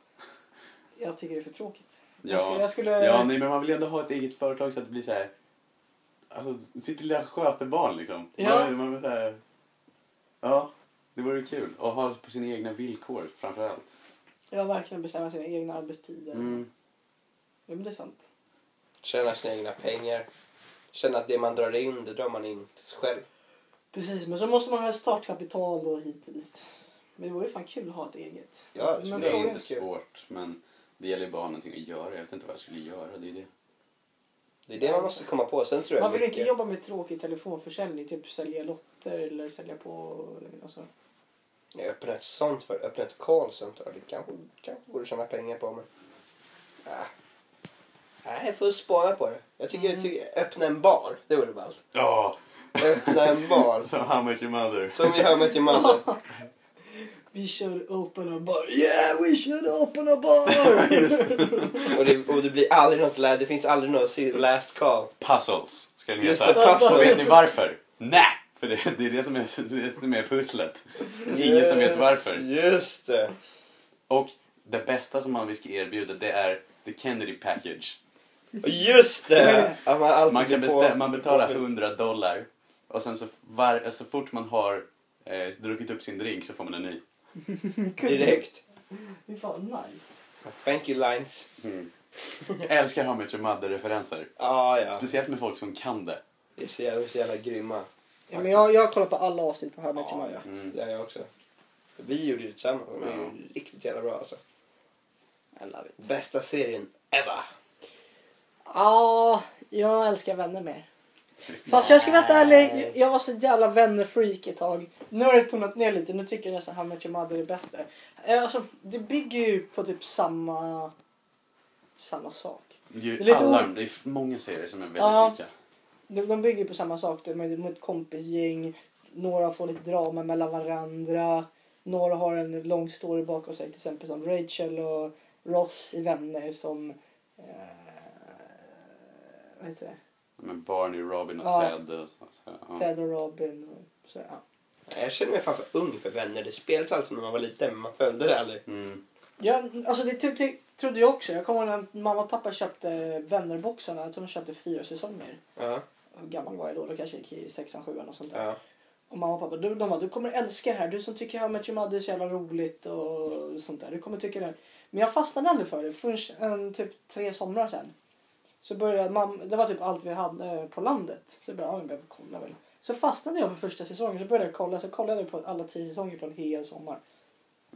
jag tycker det är för tråkigt. Jag skulle... Ja. Jag skulle ja, nej men man vill ändå ha ett eget företag så att det blir så här. Alltså, sitt lilla skötebarn liksom. Ja. Man, man vill så här... Ja, det vore kul. Och ha på sina egna villkor framför allt. Jag har verkligen bestämma sina egna arbetstider. Mm. Ja, men det är sant. Tjäna sina egna pengar. Känna att det man drar in, det drar man in till sig själv. Precis, men så måste man ha ett startkapital och hit och dit. Men det vore ju fan kul att ha ett eget. Ja, Men det är frågan- inte svårt, men det gäller ju bara att ha någonting att göra. Jag vet inte vad jag skulle göra, det är det. Det är det man måste komma på. Sen tror jag Man vill inte mycket- jobba med tråkig telefonförsäljning, typ sälja lotter eller sälja på... Alltså. Nej, öppna ett sånt för öppna ett callcenter. Det kanske, kanske borde tjäna pengar på men... Ah. Nej, jag får spana på det. Jag tycker, jag tycker öppna en bar. Det vore ballt. Ja, Öppna en bar. som How Much Your Mother. Som vi hör med till mannen. Vi kör open a bar. Yeah, we should open a bar! Och det, och det blir aldrig något lä- Det finns aldrig något si- last call. Puzzles, ska den Just heta. det, Och vet pussel. ni varför? Nej! För det, det är det som är, det är det som är pusslet. Ingen som vet Yes, varför. Just det. Och det bästa som man vill ska erbjuda det är the Kennedy package. Just det! Att man alltid Man, kan blir på- bestämma, man betalar på- 100 dollar och sen så, var, så fort man har eh, druckit upp sin drink så får man en ny. Direkt. Det är fan nice. Thank you lines. Mm. Jag älskar How Much Your Mother-referenser. Ah, ja, Speciellt med folk som kan det. Det är så jävla, så jävla grymma. Ja, men jag, jag kollar på alla avsnitt på How I Met Your Ja, ja. Mother. Mm. Det är jag också. Vi gjorde det tillsammans. Det var ju Ja. riktigt jävla bra alltså. I love it. Bästa serien ever. Ja, jag älskar vänner mer. Fast jag ska vara helt ärlig, jag var så jävla vänner-freak ett tag. Nu har det tonat ner lite, nu tycker jag nästan How Much Your Mother är bättre. Eh, Alltså, det bygger ju på typ samma, samma sak. Det är Det är ju lite alla, o- det är många serier som är väldigt Ja. lika. De, de bygger ju på samma sak, de är mot kompisgäng, några får lite drama mellan varandra, några har en lång story bakom sig, till exempel som Rachel och Ross i Vänner som... Eh, vad heter det? Men Barney, Robin och Ja. Ted. Och så, så, ja. Ted och Robin och sådär. ja. Jag känner mig fan för ung för vänner. Det spelades alltid när man var liten men man följde det aldrig. Mm. Ja, alltså det ty- ty- trodde jag också. Jag kommer ihåg när mamma och pappa köpte Vännerboxarna. Jag tror de köpte fyra säsonger. Ja, Hur gammal var jag då? Då kanske jag gick i sexan, sjuan och sånt där. ja. Och mamma och pappa, du, de bara, du kommer älska det här. Du som tycker How I Met Your Mother är så jävla roligt och sånt där. Du kommer tycka det här. Men jag fastnade aldrig för det förrän en, typ tre somrar sen. Så började mamma, det var typ allt vi hade på landet. Så började jag, ja, men jag kolla väl. Så fastnade jag för första säsongen. Så började jag kolla. Så kollade jag på alla tio säsonger på en hel sommar.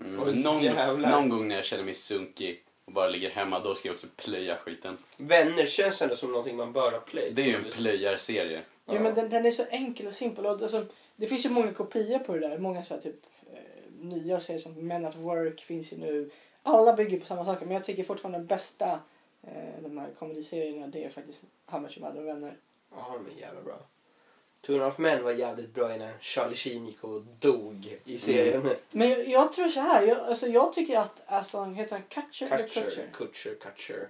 Mm. Oj, någon, jävlar. någon gång när jag känner mig sunkig och bara ligger hemma, då ska jag också plöja skiten. Vänner känns ändå som någonting man bör ha play. Det är ju en plöjarserie. Ja, men den, den är så enkel och simpel. Och alltså, det finns ju många kopior på det där. Många så här, typ eh, nya serier som Men at Work finns ju nu. Alla bygger på samma saker men jag tycker fortfarande den bästa eh, de här komediserierna det är faktiskt How much you Mother och vänner. Ja, de är jävla bra. Two and a half men var jävligt bra innan Charlie Sheen gick och dog i serien. Mm. [laughs] Men jag, jag tror så här. Jag, alltså, jag tycker att Aston heter han Kutcher eller Kutcher, Kutcher? Kutcher, Kutcher.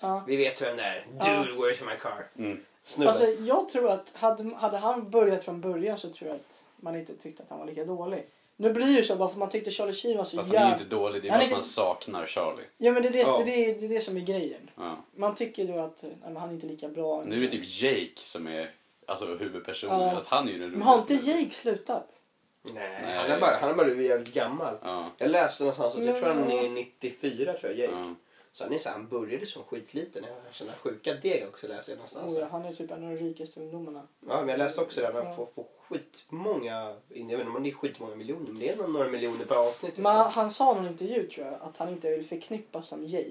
Ja. Vi vet vem det är. Dude, where's my car? Mm. Snubben. Alltså, jag tror att hade, hade han börjat från början så tror jag att man inte tyckte att han var lika dålig. Nu blir det ju så bara för man tyckte Charlie Sheen var så Fast han är ju jävla... inte dålig, det är Han bara är att man inte- saknar Charlie. Ja men det är det, Ja. det, är, det är det som är grejen. Ja. Man tycker då att nej, men han är inte lika bra. Nu är det typ Jake som är alltså, huvudpersonen. Ja. Alltså, han är ju den Men har inte roligaste. Jake slutat? Nej, Nej. han är bara, han är bara blivit jävligt gammal. Ja. Jag läste någonstans att jag tror han är Men- 94 tror jag, Jake. Ja. Så han är så här, han började som skitliten. Jag känner sjuka deg också läste jag någonstans. Oh, ja, han är typ en av de rikaste ungdomarna. Ja, men jag läste också det. här, Ja. Man får, får skitmånga, jag vet inte om det är skitmånga miljoner, men det är nog några miljoner per avsnitt. Men han sa i någon intervju tror jag att han inte vill förknippas som Jake.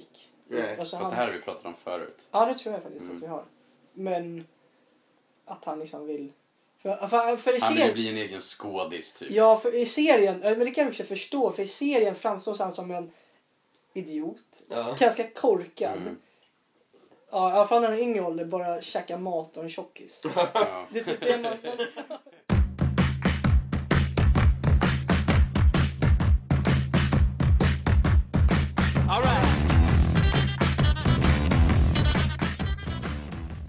Nej. Alltså, Fast det han... här har vi pratat om förut. Ja det tror jag faktiskt Mm. att vi har. Men att han liksom vill... För, för, för i Han ville serien... bli en egen skådis typ. Ja, för i serien, eh, men det kan jag också förstå, för i serien framstås han som en idiot. typ. Ja. Ganska korkad. Mm. Ja, i alla fall när han är yngre ålder bara käka mat och en tjockis. Ja. Det är typ det man... man-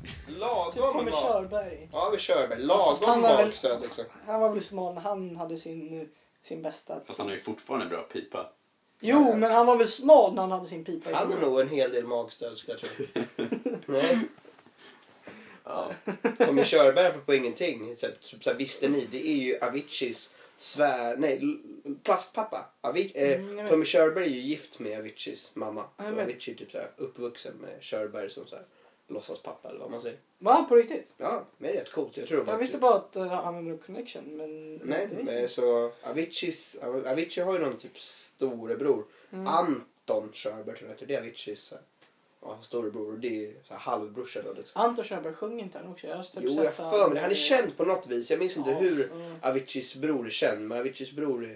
Typ Lagom Tommy mat. Körberg. Ja, vi kör med Fast han lagom har väl- magsöt liksom. Han var väl smal när han hade sin, sin bästa... Fast han har ju fortfarande bra pipa. Jo, men han var väl smal när han hade sin pipa i Han har munnen. nog en hel del magstöd ska jag [laughs] tro. Nej, Ja. Tommy Körberg på, på ingenting. Så, typ så, så, visste ni, det är ju Aviciis svär... Nej, l- plastpappa. Avi, eh, Mm, jag vet. Tommy Körberg är ju gift med Aviciis mamma. Ja, Så jag vet. Avicii är typ så här, uppvuxen med Körberg som så här, låtsaspappa eller vad man säger. Var han på riktigt? Ja, men det är rätt coolt. Jag tror det var Jag typ- visste bara att eh, han hade en connection, men... Nej, inte visste. men så Aviciis, Av- Avicii har ju någon typ storebror. Mm. Ah. Anton Körberg tror jag heter. Det är Aviciis eh, ja, storebror. Och Det är så här halvbrorsa då liksom. Anton Körberg sjunger inte han också? Jag har typ Jo, sett jag har för mig det. Han är känd på något vis. Jag minns inte Ja, hur mm. Aviciis bror är känd. Men Aviciis bror är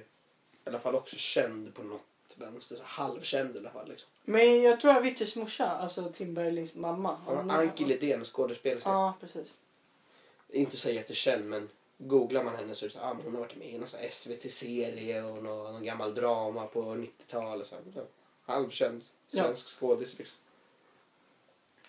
i alla fall också känd på något vänster. Så halvkänd i alla fall. Liksom. Men jag tror Aviciis morsa, alltså Tim Berglings mamma. Han har Anki Lidén, skådespelerska. Ja, precis. Inte så jättekänd men googlar man henne så är det så här, ah, men hon har varit med i någon så här SVT-serie och någon, någon gammal drama på 90-talet. Så här. Så Halvkänd svensk skådis liksom.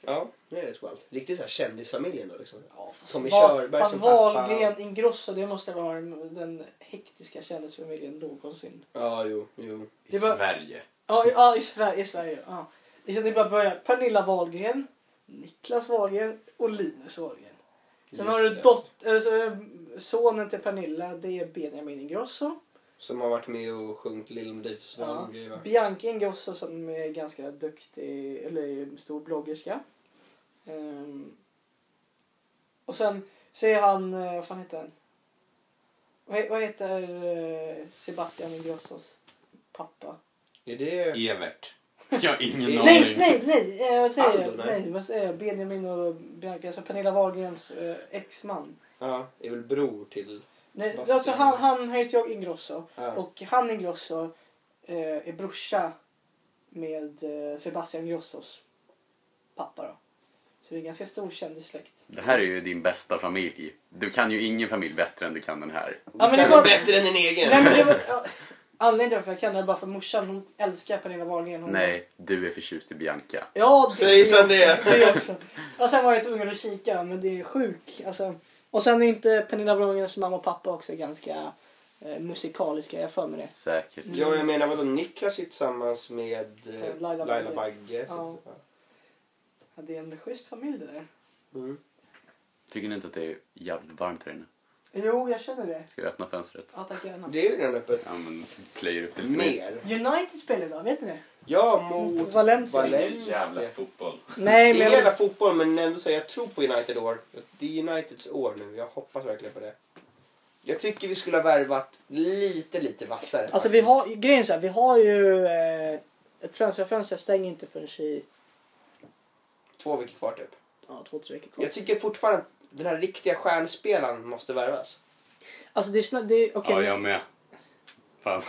Ja, det är rätt coolt. Riktigt så här kändisfamiljen då liksom. Ja, fast Tommy Val- Körberg fast som Wahlgren, pappa. Ingrosso, det måste vara den, den hektiska kändisfamiljen någonsin. Ja, jo, jo. I Det var- Sverige. Ja, i, ja, i Sverige. I Sverige ja. Liksom det är bara att börja. Pernilla Wahlgren, Niklas Wahlgren och Linus Wahlgren. Sen Just har du det. dot, äh, sonen till Pernilla, det är Benjamin Ingrosso. Som har varit med och sjungit Lill Melodifestivalen Ja. och grejer va? Bianca Ingrosso som är ganska duktig, eller stor bloggerska. Ehm, och sen så är han, eh, vad fan heter han? Vad, he- vad heter eh, Sebastian Ingrossos pappa? Är det... Evert. Jag har ingen Nej, Nej, aning. nej, nej! Eh, vad säger Aldo, jag? nej. Nej, vad säger jag? Benjamin och Bianca, alltså Pernilla Wahlgrens eh, exman. Ja, är väl bror till... Nej, Sebastian. alltså han, han heter jag Ingrosso Ja. och han Ingrosso eh, är brorsa med eh, Sebastian Grossos pappa då. Så det är en ganska stor kändissläkt. Det här är ju din bästa familj. Du kan ju ingen familj bättre än du kan den här. Ja, men kan det var- vara bättre än din egen. Nej men det var... ja, Anledningen till varför jag kan det är bara för morsan hon älskar Pernilla Wahlgren. Hon Nej, du är förtjust i Bianca. Ja, det, Säg som det är. det också. Och sen var jag tvungen att kika men det är sjuk. Alltså. Och sen är inte Pernilla Wahlgrens mamma och pappa också ganska eh, musikaliska, jag har för mig det. Säkert. Ja, jag menar vadå? Niklas är tillsammans med eh, Eh, Laila Laila Bagge. Bagge. typ. Ja. Så, ja. Ja, det är en schysst familj det där. Mm. Tycker ni inte att det är jävligt varmt här inne? Jo, jag känner det. Ska vi öppna fönstret? Ja, tack gärna. Det är ju redan öppet. Ja, men plöjer upp det lite mer. Mer. United spelar idag, vet ni det? Ja, mot Valencia. Valencia. fotboll. Nej, Det är men... hela fotboll, men ändå så jag tror på United år. Det är Uniteds år nu. Jag hoppas verkligen på det. Jag tycker vi skulle ha värvat lite, lite vassare. Alltså, vi har, grejen är så här, vi har ju... Eh, ett transferfönster stänger inte förrän i Två veckor kvar typ. ja, två, tre veckor kvar. Jag tycker fortfarande att den här riktiga stjärnspelaren måste värvas. Alltså, det är, sna- det är, okej, Ja, jag med. Fan.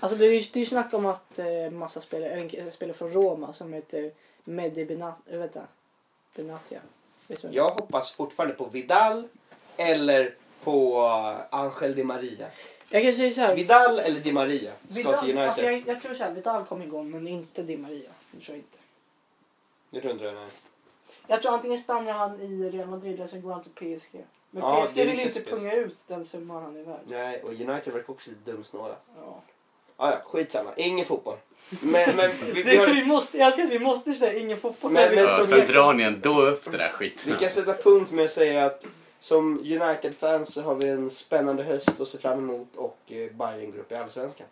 alltså, det är, ju- det är ju snack om att eh, massa spelare, eller en k- spelare från Roma som heter Medi Benat, äh, vänta, Benatia. Vet du vem det är? Jag hoppas fortfarande på Vidal eller på eh, Angel Di Maria. Jag kan säga så här. Vidal eller Di Maria ska Vidal, till United. alltså, jag, jag tror så här, Vidal kommer igång men inte Di Maria. Jag tror jag inte. Det tror inte jag. nej. Jag tror antingen stannar han i Real Madrid eller så går han till PSG. Men Ja, PSG det är vill lite inte spec- punga ut den summan han är värd. Nej, och United verkar också lite dumsnåla. Ja. Ah, ja, skitsamma. Ingen fotboll. Men, men vi, vi, Det, har, vi måste, jag älskar att vi måste säga ingen fotboll. Men- vi, men- Ja, som sen jag- drar ni ändå upp den där vi skiten. kan sätta punkt med att säga att som United-fans så har vi en spännande höst att se fram emot och eh, Bayern-grupp i Allsvenskan.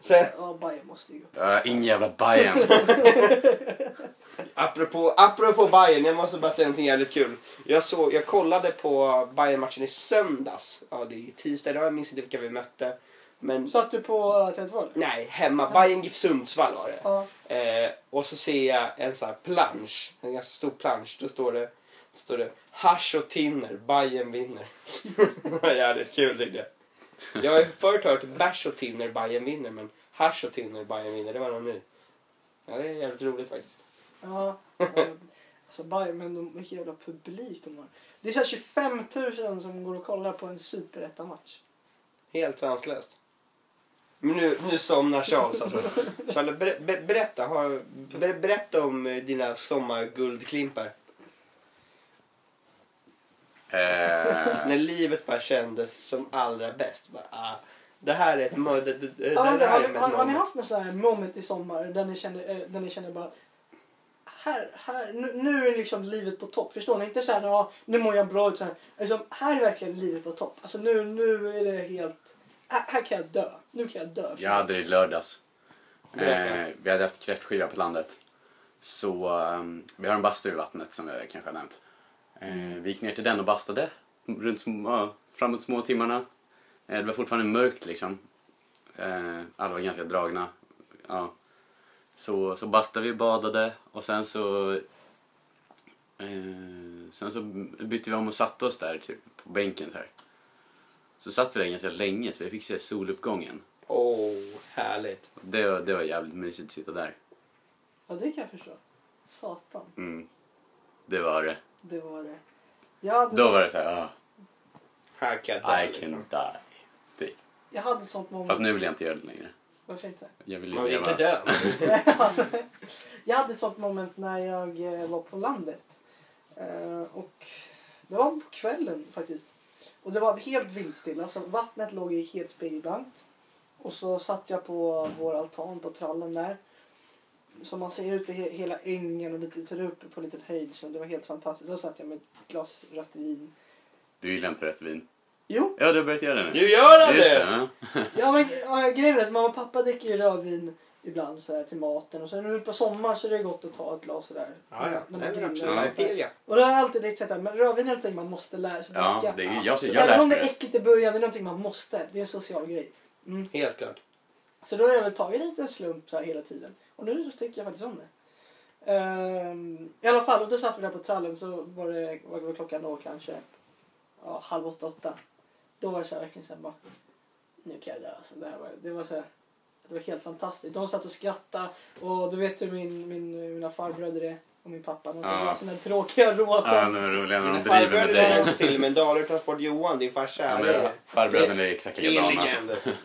Sen, ja, Bayern måste ju gå. Ja, ingen jävla Bayern. apropå, apropå Bayern, jag måste bara säga någonting jävligt kul. Jag, såg, jag kollade på Bayern-matchen i söndags. Ja, det är ju tisdag idag, jag minns inte vilka vi mötte. Men Satt du på eh, Tele2 eller? nej, hemma. Bajen GIF Sundsvall var det. Ja. Eh, och så ser jag en sån här plansch, en ganska stor plansch. Då står det, står det hasch och tinner, Bajen [laughs] vinner. Det var Jävligt kul tyckte jag. Jag har ju förut hört bärs och tinner, Bajen vinner. Men hasch och tinner, Bajen vinner, det var någon ny. Ja, det är jävligt roligt faktiskt. Ja. eh, Alltså Bayern, men de, vilken jävla publik de har. Det är så här 25 000 som går och kollar på en superettamatch. Helt sanslöst. Men nu, nu somnar Charles alltså. Charles, ber, ber, berätta, har, ber, berätta om eh, dina sommarguldklimpar. Eh, När livet bara kändes som allra bäst. Bara, ah, det här är ett mörd... Det, det, det Ja, men, här har, är ni- ett har, har ni moment. haft något sån här moment i sommar där ni kände, eh, där ni kände bara här, här, nu, nu är liksom livet på topp. Förstår ni? Inte så här, ja, nu mår jag bra. Utan liksom, här är verkligen livet på topp. Alltså nu, nu är det helt, här, här kan jag dö. Nu kan jag dö. jag hade det i lördags. Eh, Berätta. vi hade haft kräftskiva på landet. Så ehm, vi har en bastu i vattnet som jag kanske har nämnt. Eh, vi gick ner till den och bastade runt små, ja, framåt små timmarna. Eh, det var fortfarande mörkt liksom. Eh, alla var ganska dragna. Ja. Så, så bastade vi, badade och sen så eh, sen så bytte vi om och satte oss där typ, på bänken så här. Så satt vi där ganska länge så vi fick se soluppgången. Åh, härligt. Det var, det var jävligt mysigt att sitta där. Ja, det kan jag förstå. Satan, Mm. Det var det. det var det. Jag hade, Då var det såhär, Här kan jag ah, dö, I can liksom. die. jag hade ett sånt moment. Fast nu vill jag inte göra det längre. Varför inte? Jag vill ju Man vill leva. inte [laughs] dö. jag hade ett sånt moment när jag eh, var på landet. Eh, och det var på kvällen faktiskt. Och det var helt vindstilla så vattnet låg i helt spegelblankt. Och så satt jag på vår altan på trallen där. Så man ser ut i he- hela ängen och lite, så det är uppe på en liten höjd. Så det var helt fantastiskt. Då satt jag med ett glas rött vin. Du gillar inte rött vin. Jo, Ja, du har börjat göra det nu. Nu gör han Just det! det! ja. ja, men, ja, grejen är att mamma och pappa dricker ju rödvin ibland så här, till maten. Och sen nu på sommaren så är det gott att ta ett glas sådär. Ja, ja. När man Nej, men grillar. absolut. Nej, fel ja. Och det har jag alltid tänkt såhär, men rödvin är någonting man måste lära sig Ja, det dricka. är, ju- jag, jag Även om lärde det är mig äckligt i början, det är någonting man måste. Det är en social grej. Mm. Helt klart. Så då har jag väl tagit lite slump så här hela tiden. Och nu så tycker jag faktiskt om det. Ehm, I alla fall, och då satt vi där på trallen så var det, vad var klockan då kanske? Ja, halv åtta, åtta. Då var det så här verkligen såhär bara, nu kan jag dö. Alltså, det, här var, det var så här, det var helt fantastiskt. De satt och skrattade och du vet hur min, min, mina farbröder är och min pappa. De Ja. drar sina tråkiga råskämt. Ja, de är roliga när de driver med Farbröderna har dig. åkt till, men Dalar Transport Johan, din farsa, Ja, han men är... Farbröderna är exakt Det är en likadana. [laughs] legend.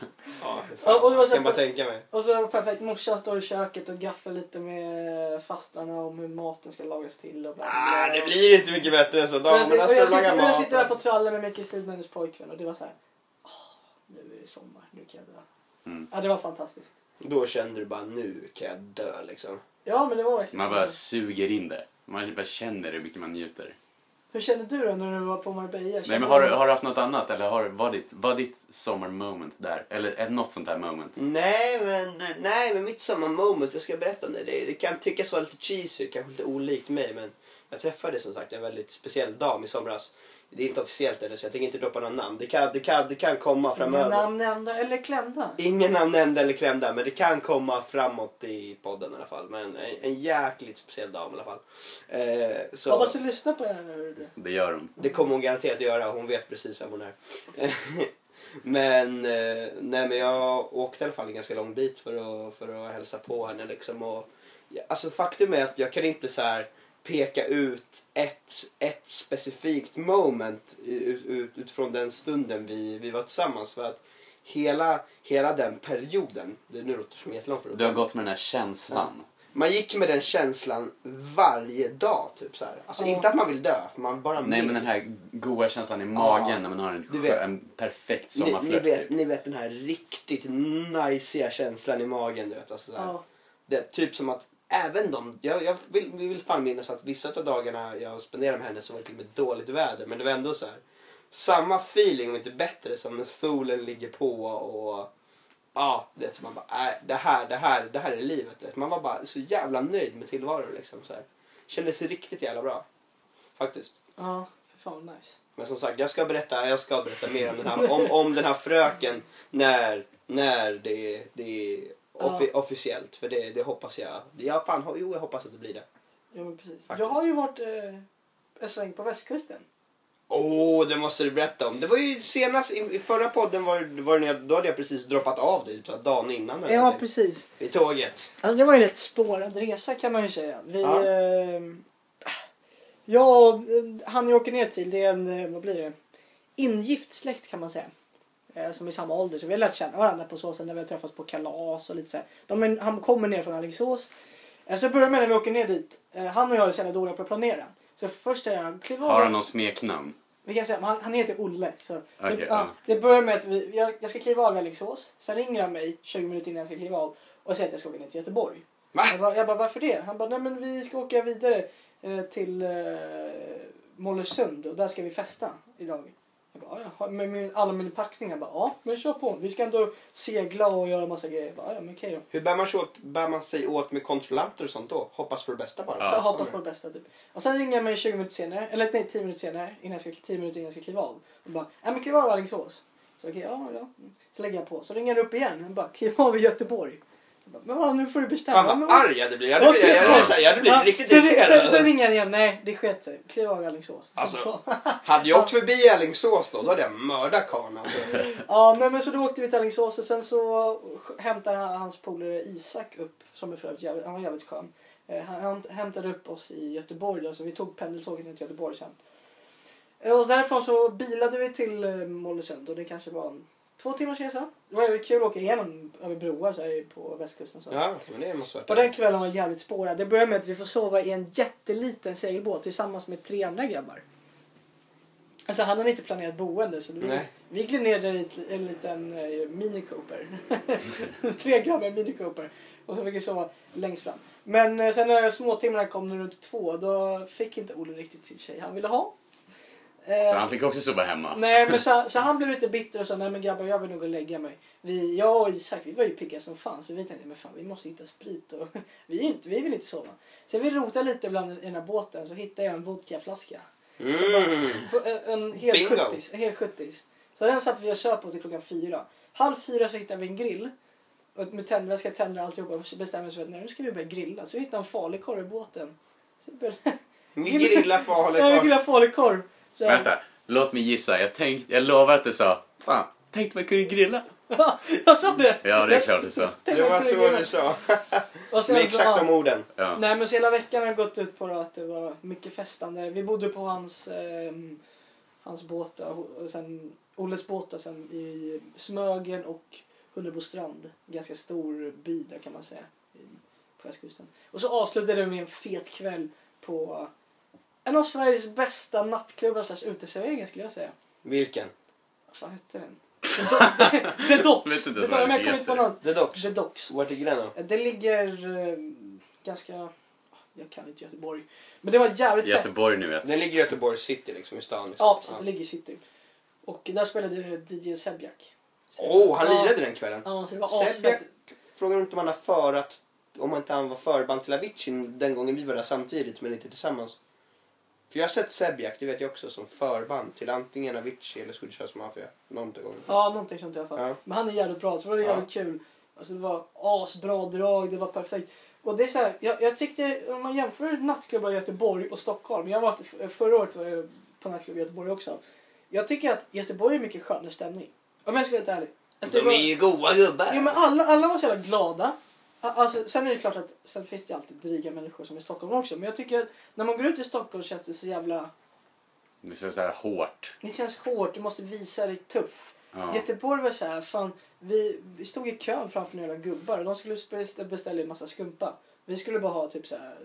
Ja, fy Ja, och fan. det var Jag så- kan bara tänka mig. Och så perfekt, morsan står i köket och gafflar lite med fastrarna om hur maten ska lagas till och bla bla. Ah, det blir inte mycket bättre än så. och jag, Damerna sitter, och jag, står och sitter, alltså, lagar och jag sitter där på mat. trallen med Micke Siden och hennes pojkvän och det var så här. "Åh, nu är det sommar, nu kan jag dö. Mm. Ja, det var fantastiskt. Då kände du bara, nu kan jag dö liksom. Ja, men det var verkligen Man bara så. suger in det. Man bara känner hur mycket man njuter. Hur kände du då när du var på Marbella? Nej, men har, du- har du haft något annat eller har, var, ditt, var ditt sommarmoment där? Eller ett, något sånt där moment? Mm. Nej men, nej, men mitt samma moment, jag ska berätta om det. Det, det kan tyckas vara lite cheesy, kanske lite olikt mig men jag träffade som sagt en väldigt speciell dam i somras. Det är inte officiellt ännu så jag tänker inte droppa några namn. Det kan, det kan, det kan komma framöver. Inga namn nämnda eller klämda? Ingen namn nämnda eller klämda men det kan komma framåt i podden i alla fall. Men en, en jäkligt speciell dam i alla fall. Eh, så... Hoppas du lyssnar på det här nu. hör du. Det gör de. Det kommer hon garanterat att göra. Hon vet precis vem hon är. [laughs] men, eh, nej, men jag åkte i alla fall en ganska lång bit för att, för att hälsa på henne. Liksom, och, ja, alltså, faktum är att jag kan inte så här peka ut ett, ett specifikt moment ut, ut, utifrån den stunden vi, vi var tillsammans. För att hela, hela den perioden, det nu låter det som en jättelång period. Du har gått med den här känslan. Man gick med den känslan varje dag. Typ så här. Alltså, Ja. Inte att man vill dö, för man bara Nej men vill. den här goa känslan i magen Ja, när man har en, du skö- vet. en perfekt Ni, ni, sommarflört. vet, typ. ni vet den här riktigt najsiga känslan i magen. Du vet, alltså, så här. Ja. Det är typ som att även de, jag, jag vill, vi vill fan minnas att vissa av dagarna jag spenderade med henne så var det till och med dåligt väder. Men det var ändå så här, samma feeling om inte bättre som när solen ligger på och ja, du vet, så man bara, äh, det, här, det, här, det här är livet. Du vet. Man var bara så jävla nöjd med tillvaron. Liksom, så här. Kändes riktigt jävla bra. Faktiskt. Ja, för fan vad nice. Men som sagt, jag ska berätta, jag ska berätta mer om den här, om, om den här fröken när När det, det är offi- officiellt. För det, det hoppas jag. Ja, fan, ho- jo, jag hoppas att det blir det. Ja, men precis. Faktiskt. Jag har ju varit eh, en sväng på västkusten. Åh, oh, det måste du berätta om. Det var ju senast, i, i förra podden var, var det, när jag- då hade jag precis droppat av dig. Typ, dagen innan. eller Ja, någonting. precis. I tåget. Alltså, det var ju en rätt spårad resa kan man ju säga. Vi, Ja. eh, jag och eh, han jag åker ner till, det är en, eh, vad blir det? Ingift släkt kan man säga. Eh, som är samma ålder, så vi har lärt känna varandra på så sätt när vi har träffats på kalas och lite så här. De är, han kommer ner från Alingsås. Eh, så börjar med när vi åker ner dit. Eh, han och jag är så jävla dåliga på att planera. Så först är han, kliv av. Har han någon smeknamn? Vi kan säga, han, han heter Olle. Så Okej, Typ, det, ja, ja. det börjar med att vi, jag, jag ska kliva av i Alingsås. Sen ringer han mig 20 minuter innan jag ska kliva av och säger att jag ska åka ner till Göteborg. Va? Jag bara, jag bara varför det? Han bara, nej men vi ska åka vidare eh, till eh, Mollösund och där ska vi festa idag. Jag bara, ja, ja. Med min, alla mina packningar. Jag bara, ja men kör på. Vi ska ändå segla och göra massa grejer. Jag bara, ja men okej då. Hur bär man sig åt, bär man sig åt med kontrollanter och sånt då? Hoppas för det bästa bara. Ja. Jag hoppas på det bästa typ. Och sen ringer jag mig 20 minuter senare, eller nej 10 minuter senare, innan jag ska, 10 minuter innan jag ska kliva av. Och bara, nej men kliv av i Alingsås. Så okej, ja, ja. Så lägger jag på. Så ringer han upp igen. Han bara, kliv av i Göteborg. Jag bara, men vad, nu får du bestämma. Fan Men vad vad- arg jag hade blivit. Jag hade blivit, jag hade blivit, så här- jag hade blivit Ja, riktigt sen- sen, irriterad. sen ringer han igen, nej det sket sig. Kliv av i Alingsås. Alltså. Hade jag åkt förbi Alingsås då, då hade jag mördat karln alltså. Ja, nej, men så då åkte vi till Alingsås och sen så hämtade han- hans polare Isak upp, som är för övrigt jävligt, han var jävligt skön. Eh, Han, han hämtade upp oss i Göteborg då, så vi tog pendeltåget ner till Göteborg sen. Eh, Och därifrån så bilade vi till eh, Mollösund och det kanske var en två timmars resa. Det var jävligt kul att åka igenom över broar så här, på västkusten. Så. Ja, men det måste På varit den kvällen var jävligt spårad. Det började med att vi får sova i en jätteliten segelbåt tillsammans med tre andra grabbar. Alltså han hade inte planerat boende så vi, Nej. vi gled ner där i ett- en liten eh, Mini Cooper. [laughs] tre grabbar i Mini Cooper. Och så fick vi sova längst fram. Men eh, sen när småtimmarna kom runt två då fick inte Olle riktigt sin tjej han ville ha. Eh, Så han fick också sova hemma. Nej, men så, så han blev lite bitter och sa nej men grabbar jag vill nog gå och lägga mig. Vi, jag och Isak vi var ju pigga som fan så vi tänkte men fan vi måste hitta sprit och [laughs] vi, är inte, vi vill inte sova. Så vi rotade lite bland i den här båten så hittade jag en vodkaflaska. Mm. På- en- En hel Bingo. 70 en hel 70 Så den satt vi och köp på till klockan fyra. Halv fyra så hittade vi en grill. Och med tändväska, tänder och alltihopa. Och så bestämde vi oss för att nej, nu ska vi börja grilla. Så vi hittade en falukorv i båten. Så vi började Ni grillar för att [laughs] hålla Nej, vi kvar. grillade falukorv. Så- Vänta, låt mig gissa. Jag, tänkte, jag lovar att du sa Fan, tänkte man kunde grilla. Ja, [laughs] jag sa det! Ja, det är klart du sa. Tänk Det att var det så ligger- du sa. Och sen Med så- exakt de ja. orden. Ja. Nej men så hela veckan har jag gått ut på det att det var mycket festande. Vi bodde på hans, ehm, hans båt då, och sen Olles båt och sen i Smögen och Hunnebostrand. Ganska stor by där kan man säga. i- På västkusten. Och så avslutade det med en fet kväll på en av Sveriges bästa nattklubbar slash uteserveringar skulle jag säga. Vilken? Vad fan hette den? [laughs] The Docks! Jag vet inte ens The Docks! vad den Men jag kommer inte på heter. någon. The Docks. The Docks. Vart ligger den då? Det ligger eh, ganska... Jag kan inte Göteborg. Men det var jävligt fett. Göteborg nu vet. Den ligger i Göteborgs city liksom, i stan. Liksom. Ja, precis. Det ligger i city. Och där spelade DJ Sebjak. Åh, han Ja. lirade den kvällen. Ja, så det var Sebjak asfett. frågade inte om han har förat, om inte han var förband till Avicii den gången vi var där samtidigt men inte tillsammans. För jag har sett Sebjak, det vet jag också, som förband till antingen Avicii eller Swedish House Mafia. Någon gång. Ja, någonting sånt i alla fall. Ja. Men han är jävligt bra, så det var det Ja. jävligt kul. Alltså, det var asbra drag, det var perfekt. Och det är så här, jag, jag tyckte, om man jämför nattklubbar i Göteborg och Stockholm. Jag var, förra året var jag på nattklubb i Göteborg också. Jag tycker att Göteborg är mycket skönare stämning. Om jag ska vara helt ärlig. Alltså, det De var- är ju goa gubbar. Jo, men alla, alla var så jävla glada. A- Alltså, sen är det klart att sen finns det ju alltid dryga människor som är i Stockholm också. Men jag tycker att när man går ut i Stockholm känns det så jävla... Det känns så här hårt. Det känns hårt, du måste visa dig tuff. Ja. Göteborg var så här, fan, vi, vi stod i kön framför några gubbar och de skulle bestä- beställa en massa skumpa. Vi skulle bara ha typ så här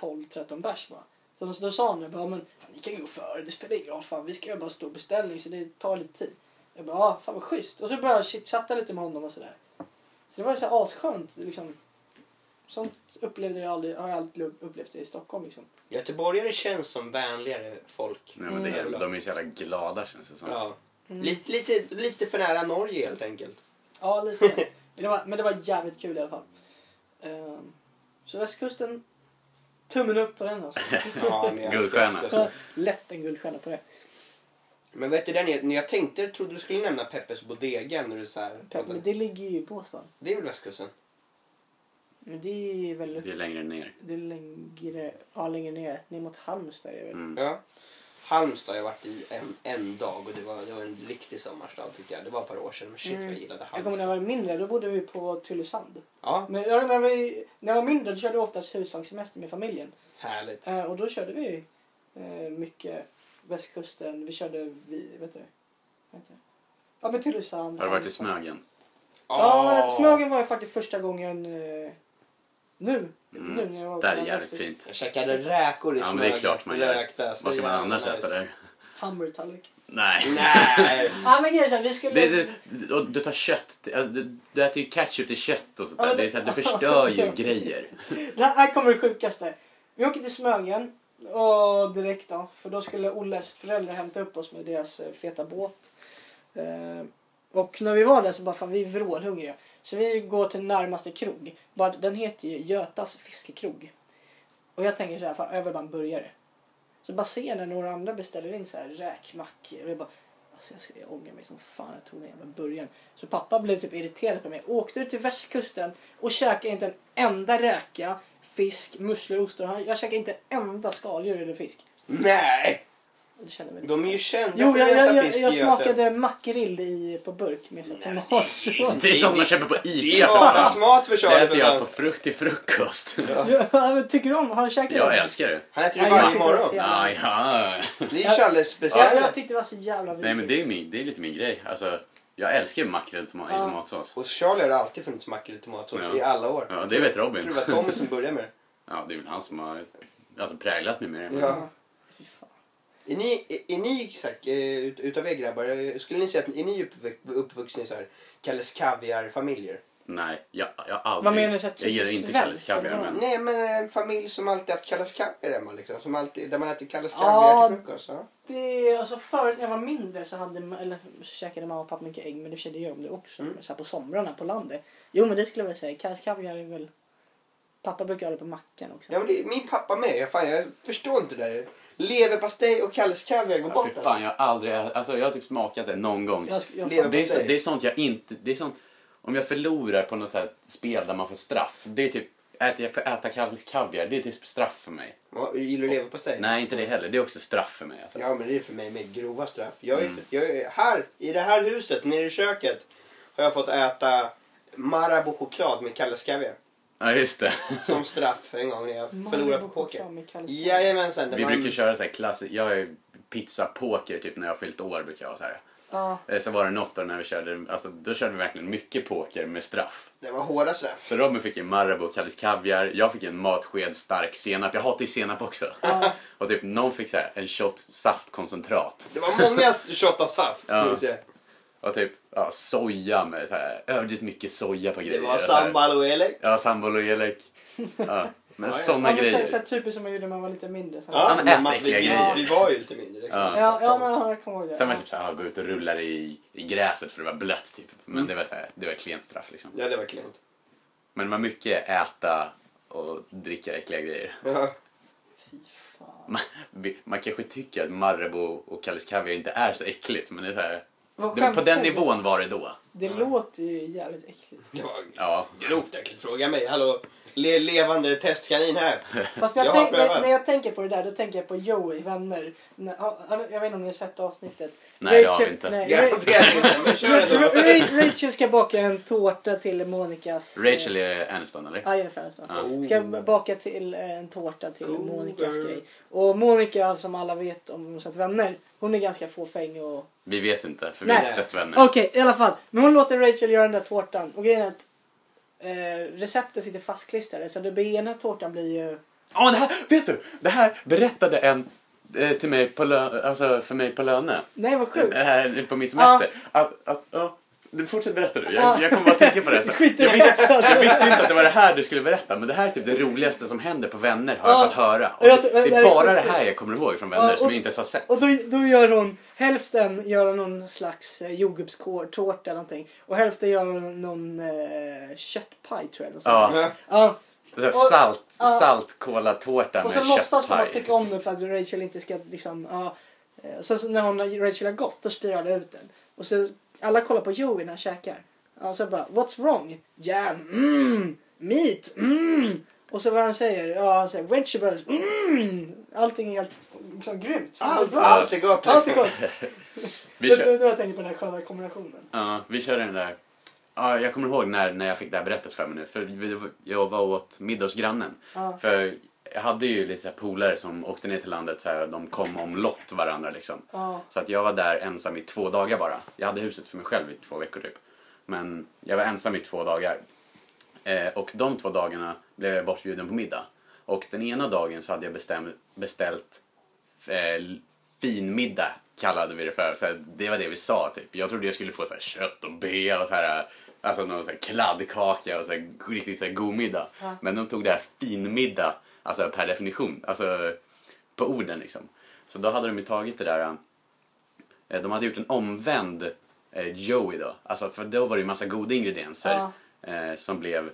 12-13 bärs bara. Så då, då sa han det, bara, men fan, ni kan ju gå före, det spelar ingen roll, fan, vi ska göra bara en stor beställning så det tar lite tid. Jag bara, ah, fan vad schysst. Och så började jag chitchatta lite med honom och sådär. Så det var ju så här asskönt liksom. Sånt upplevde jag aldrig, har jag aldrig upplevt i Stockholm liksom. Göteborgare känns som vänligare folk. Nej, men det är, de är så jävla glada känns det som. Ja. Mm. Lite, lite, lite för nära Norge [laughs] helt enkelt. Ja, lite. Men det var, men det var jävligt kul i alla fall. Ehm, så västkusten, tummen upp på den alltså. [laughs] Ja, men jag älskar Guldstjärna. västkusten. Lätt en guldstjärna på det. Men vet du, den är, när jag tänkte, jag trodde du skulle nämna Peppes Bodega när du så här, Pepp, men det ligger ju i Båstad. Det är väl västkusten? Men det är väl Det är längre ner. det är längre, ja, längre ner. Ner mot Halmstad är det väl. Mm. Ja. Halmstad har jag varit i en, en dag och det var, det var en riktig sommarstad tycker jag. Det var ett par år sedan, men shit vad jag Mm. gillade Jag kommer när Halmstad. jag var mindre, då bodde vi på Tylösand. Ja, Men jag, när, vi, när jag var mindre då körde jag oftast husvagnssemester med familjen. härligt. Eh, och då körde vi eh, mycket västkusten. Vi körde, vi, vet du, vad heter det? Ja men Tylösand. Har du varit i Halmstad. Smögen? Ja, Ah. Smögen var ju faktiskt första gången eh, nu. Mm. nu när jag var Där är på jävligt västkusten. fint. Jag käkade räkor i Ja, men det är Smögen. klart man gör. Rökta, så Vad ska man jävla annars nice. äta där? Hamburgertallrik. Nej. Nej! Ja men grejen är så här, vi skulle... Det, det, och du tar kött, till- alltså, du, du äter ju ketchup till kött och sånt Ja, där. men- Det är så här, du [laughs] förstör ju grejer. Det här kommer det sjukaste. Vi åker till Smögen och direkt då, för då skulle Olles föräldrar hämta upp oss med deras eh, feta båt. Eh, och när vi var där så bara fan vi är vrålhungriga. Så vi går till närmaste krog. Bara, den heter ju Götas fiskekrog. Och jag tänker så här, fan jag vill bara en burgare. Så bara ser jag när några andra beställer in så här räkmackor och jag bara Alltså jag, ska, jag ångrar mig som fan jag tog den jävla burgaren. Så pappa blev typ irriterad på mig. Åkte ut till västkusten och käkade inte en enda räka, fisk, musslor, ostron. Han- Jag käkade inte en enda skaldjur eller fisk. Nej! Och Det kände mig lite De är ju sad. kända Jo, för jag, att jag, lösa jag, fisk jag i Götet. smakade makrill i, på burk med så här Nej, tomatsås. Det är som man köper på Det ICA är för fan. vardagsmat för Det Charlie. äter för jag fan. på frukt till frukost. Ja, men Tycker du om? Har du käkat Jag det? älskar det. Han äter Ja, det jag varje tycker det är så morgon. jävla- Ja, ja. Det är ju Charles Ja, speciella. jag tyckte det var så jävla vidrigt. Nej men det är, min, det är lite min grej. Alltså, jag älskar ju makrill i toma- i Ja. tomatsås. Hos Charlie har det alltid funnits makrill i tomatsås Ja. i alla år. Ja, det vet Jag tror Robin. det var Tommy som började med det. Ja, det är väl han som har alltså, präglat mig med det. Ja. Fy fan. Är ni, är, är ni exakt, eh, ut, utav er grabbar, eh, skulle ni säga att är ni uppvux, uppvuxna i så här Kalles Kaviar-familjer? Nej, jag, jag har aldrig... Vad menar du, så här Jag gillar inte typisk Kalles svensk, kaviar eller vad? men... Nej, men en familj som alltid haft Kalles Kaviar hemma liksom. Som alltid, där man äter Kalles Ja. Kaviar till frukost. Ja. Det, alltså förut när jag var mindre så, hade, ma- eller, så käkade mamma och pappa mycket ägg men det kände jag om det också. Mm. Så här på somrarna på landet. Jo men det skulle jag väl säga. Kalles kaviar är väl... Pappa brukar ha det på mackan också. Ja, men det, min pappa med. Jag, fan, jag förstår inte det där. Leverpastej och Kalles Kaviar går Ja, bort fy alltså. fan, jag har aldrig... Alltså, jag har typ smakat det någon gång. Jag, sk- jag, Lever- fan- Det är, så, Leverpastej. det är sånt jag inte... Det är sånt, om jag förlorar på något så här spel där man får straff. Det är typ... Äter jag får äta Kalles kaviar, det är typ straff för mig. Ja, Gillar du leverpastej? Nej, inte det heller. Det är också straff för mig. Alltså. Ja, men det är för mig med grova straff. Jag är, Mm. jag är, här, i det här huset, nere i köket, har jag fått äta Marabou-choklad med Kalles Kaviar. Ja, just [laughs] det. Som straff en gång när jag Marabou förlorade på choklad poker. med Kalles Kaviar. Jajamensan. det Vi var en- brukar köra så här klassiskt. Jag har ju pizza-poker typ när jag har fyllt år brukar jag ha så här. Ja. Eh, Så var det något år när vi körde, alltså då körde vi verkligen mycket poker med straff. Det var hårda straff. Så Robin fick en Marabou, Kalles kaviar, jag fick en matsked stark senap, jag hatar ju senap också. Ja. [laughs] Och typ någon fick så här en shot saftkoncentrat. Det var många shot av saft, Ja. minns jag. Och typ ja, soja med så här, överdrivet mycket soja på Det grejer. var och så här. sambal och elek. Ja, sambal och elek. Ja, men Ja, ja. sådana [laughs] Ja, men så, grejer. så här, typiskt som man gjorde när man var lite mindre. Så här. Ja, men ät man- äckliga vi, grejer. Vi var ju lite mindre. liksom. Ja. Ja, ja, men jag kommer ihåg det. Sen var det typ såhär, ah, gå ut och rulla dig i, i gräset för det var blött typ. Mm. Men det var såhär, det var ett klent straff liksom. Ja, det var klent. Men det var mycket äta och dricka äckliga grejer. Ja. Fy fan. Man, vi- man kanske tycker att Marabou och Kalles Kaviar inte är så äckligt men det är så här, Vad det, på skämtar den du? nivån var det då. Det låter ju jävligt [laughs] äckligt. Det var Ja. grovt äckligt. Fråga mig. Hallå, le levande testkanin [laughs] här. Fast när jag, Jag har tänk, när, prövat. när jag tänker på det där, då tänker jag på Joey Vänner. När, har- har ni- jag vet inte om ni har sett avsnittet. Nej, det har vi inte. Nej, Ra- Garanterat inte, men kör ändå. Ra- Rachel ska baka en tårta till Monikas... eh, Rachel är Aniston eller? Ja, Jennifer Aniston. Ja. Ska baka till eh, en tårta till Cool. Monikas grej. Och Monica som alla vet om hon har sett vänner, hon är ganska fåfäng och... Vi vet inte för vi har Nej. inte sett vänner. Okej, i alla fall. Men hon låter Rachel göra den där tårtan. Och grejen är att eh, receptet sitter fastklistrade så det blir, ena tårtan blir ju... Ja, det här, vet du? Det här berättade en eh, till mig på lö, alltså för mig på löne. Nej vad sjukt! Eh, Här på min semester. Att, att, ja. Du, Fortsätt berätta du. Jag, Ja. jag kommer bara tänka på det. här sen. [laughs] Skit i jag, det. visste, jag visste inte att det var det här du skulle berätta men det här är typ det roligaste som händer på Vänner har jag Ja. fått höra. Och Och jag- det, det det här är är bara det sjukt. här jag kommer ihåg från Vänner Ja, som och- jag inte ens har sett. Och då, då gör hon, hälften gör hon någon slags eh, jordgubbstårta eller någonting. Och hälften gör hon någon eh, köttpaj tror jag. eller något sånt. Ja. Ja. [laughs] Så Ja. här, Och- salt, ja. saltkolatårta Och med så låtsas hon köttpaj. att tycka om det för att Rachel inte ska liksom, ja. Eh, Sen så när hon, Rachel har gått då spirar det ut den. Och så alla kollar på Joey när han käkar. Och så bara what's wrong? Jam, mm, meat, mm. Och så vad han säger, ja han säger vegetables, mm. Allting är helt liksom, grymt. Allt, Bra. allt är gott. liksom. Allt är gott. Vi Det kör, det var jag tänkte på den här sköna kombinationen. ja, vi kör den där. Ja, jag kommer ihåg när, när jag fick det här berättat för mig nu. För vi- jag var åt middag hos grannen. Ja. För jag hade ju lite så här polare som åkte ner till landet så här, de kom omlott varandra liksom. Ja. Så att jag var där ensam i två dagar bara. Jag hade huset för mig själv i två veckor typ. Men jag var ensam i två dagar. Eh, och de två dagarna blev jag bortbjuden på middag. Och den ena dagen så hade jag bestäm- beställt eh, finmiddag kallade vi det för. Så här, det var det vi sa typ. Jag trodde jag skulle få så här, kött och bea och så här, alltså någon så här, kladdkaka och så här, riktigt så här, god middag. Ja. Men de tog det här finmiddag, alltså per definition, alltså på orden liksom. Så då hade de ju tagit det där, eh, de hade gjort en omvänd eh, Joey då. Alltså för då var det ju massa goda ingredienser eh, som blev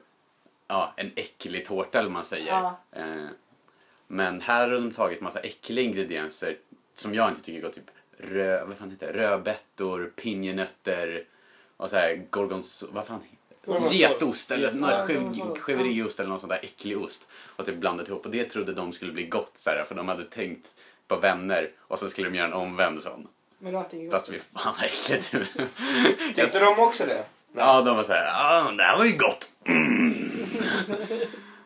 ja, en äcklig tårta eller vad man säger. Ja. Eh, men här har de tagit massa äckliga ingredienser som jag inte tycker är gott. Typ rö, vad fan heter det? rödbetor, pinjenötter och så här gorgons... Vad fan? Gorgonzola. Getost eller Get- någon ja, skev, gorgonzola. skeveriost eller någon sån där äcklig ost. Och typ blandat ihop. Och det trodde de skulle bli gott så här, för de hade tänkt på vänner och så skulle de göra en omvänd sån. Men det vart inget gott. Fast vi fan vad äckligt. Tyckte de också det? Ja, de var såhär, ah, det här var ju gott. Mm.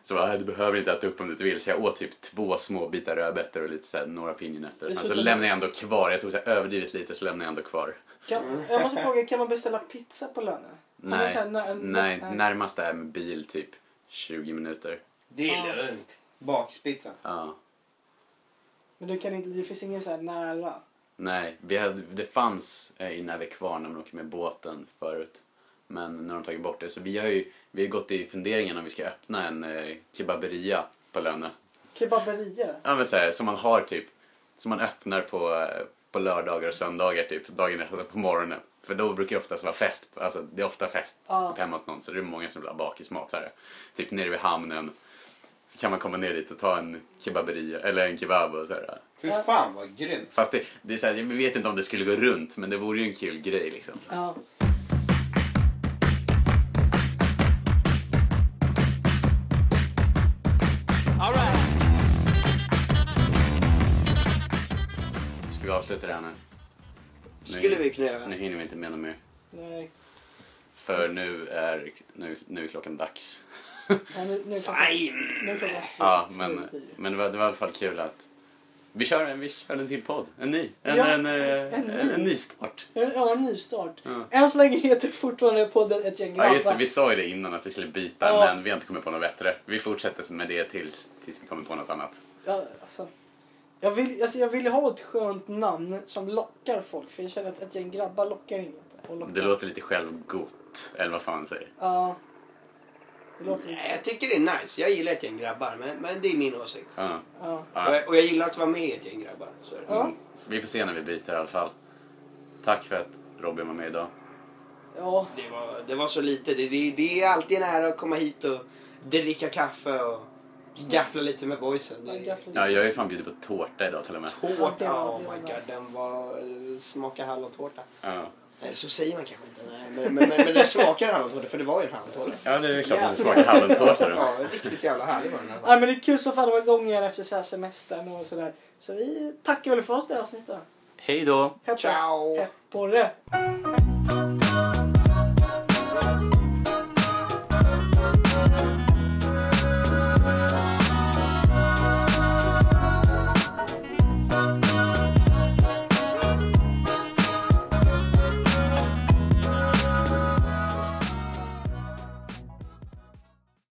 Så bara, du behöver inte äta upp om du inte vill. Så jag åt typ två små bitar rödbetor och lite så här, några pinjenötter. Sen så Dessutom- lämnade jag ändå kvar, jag tog så här, överdrivet lite så lämnade jag ändå kvar. Kan, jag måste fråga, kan man beställa pizza på lönen? Om det är Nej, så här, nö- nej, närmast är med bil typ 20 minuter. Det Ja. lugnt. Bakspizza. Ja. Men du kan inte, det finns ingen så här nära. Nej, vi hade, det fanns eh, i Nävekvarn när man åker med båten förut. Men nu har de tagit bort det. Så vi har ju vi har gått i funderingen om vi ska öppna en eh, kebaberia på Lönne. Kebaberia. Ja men så här, som man har typ. Som man öppnar på, eh, på lördagar och söndagar typ. Dagen efter på morgonen. För då brukar det oftast vara fest. Alltså det är ofta fest Ja. typ hemma hos någon. Så det är många som vill ha bakismat så här. Typ nere vid hamnen. Så kan man komma ner dit och ta en kebaberia eller en kebab och så här. Fy fan vad grymt. Fast det, det är så här, jag vet inte om det skulle gå runt men det vore ju en kul grej liksom. Ja. Ska vi avsluta det här nu? Skulle vi kunna Nu göra. hinner vi inte med något mer. Nej. För nu är, nu, nu är klockan dags. [laughs] Nej, nu, nu Sajm! Nu kommer jag Ja, helt men, slut i det. men det, var, det var i alla fall kul att vi kör, en- vi kör en till podd. En ny. En, Ja, en, eh, en en, ny. en ny start. En, ja, en ny start. Ja. Än så länge heter fortfarande podden Ett gäng Ja, just det, vi sa ju det innan att vi skulle byta Ja. men vi har inte kommit på något bättre. Vi fortsätter med det tills, tills vi kommer på något annat. Ja, alltså, jag, vill, alltså, jag vill ha ett skönt namn som lockar folk. För jag känner att ett gäng grabbar lockar inget. Och lockar. Det låter lite självgott, eller vad fan man säger. Ja. Det låter inte. Nej, Jag tycker det är nice. Jag gillar ett gäng grabbar, men, men det är min åsikt. Ja. Ja. Och Ja. jag, och jag gillar att vara med i ett gäng grabbar. Så är det. Ja. Mm. Vi får se när vi byter i alla fall. Tack för att Robin var med idag. ja. Det, var, det var så lite. Det, det, det är alltid nära att komma hit och dricka kaffe och gaffla lite med boysen. Det, Ja, gafflar. Ja, jag är ju fan bjuden på tårta idag till och med. Tårta, Ja, oh det var my nice. god. Den var, eh, smakar hallontårta. Ja, Eller Eh, så säger man kanske inte. Nej, men, men, men, men den smakar hallontårta, för det var ju en hallontårta. ja det är klart att det smakar hallontårta då. Ja, riktigt jävla härlig var den här. Nej, men det är kul så fan det var gånger efter så här semestern och sådär. Så vi tackar väl för oss det här avsnittet. Hej då! Hepp Ciao! Hepp på det.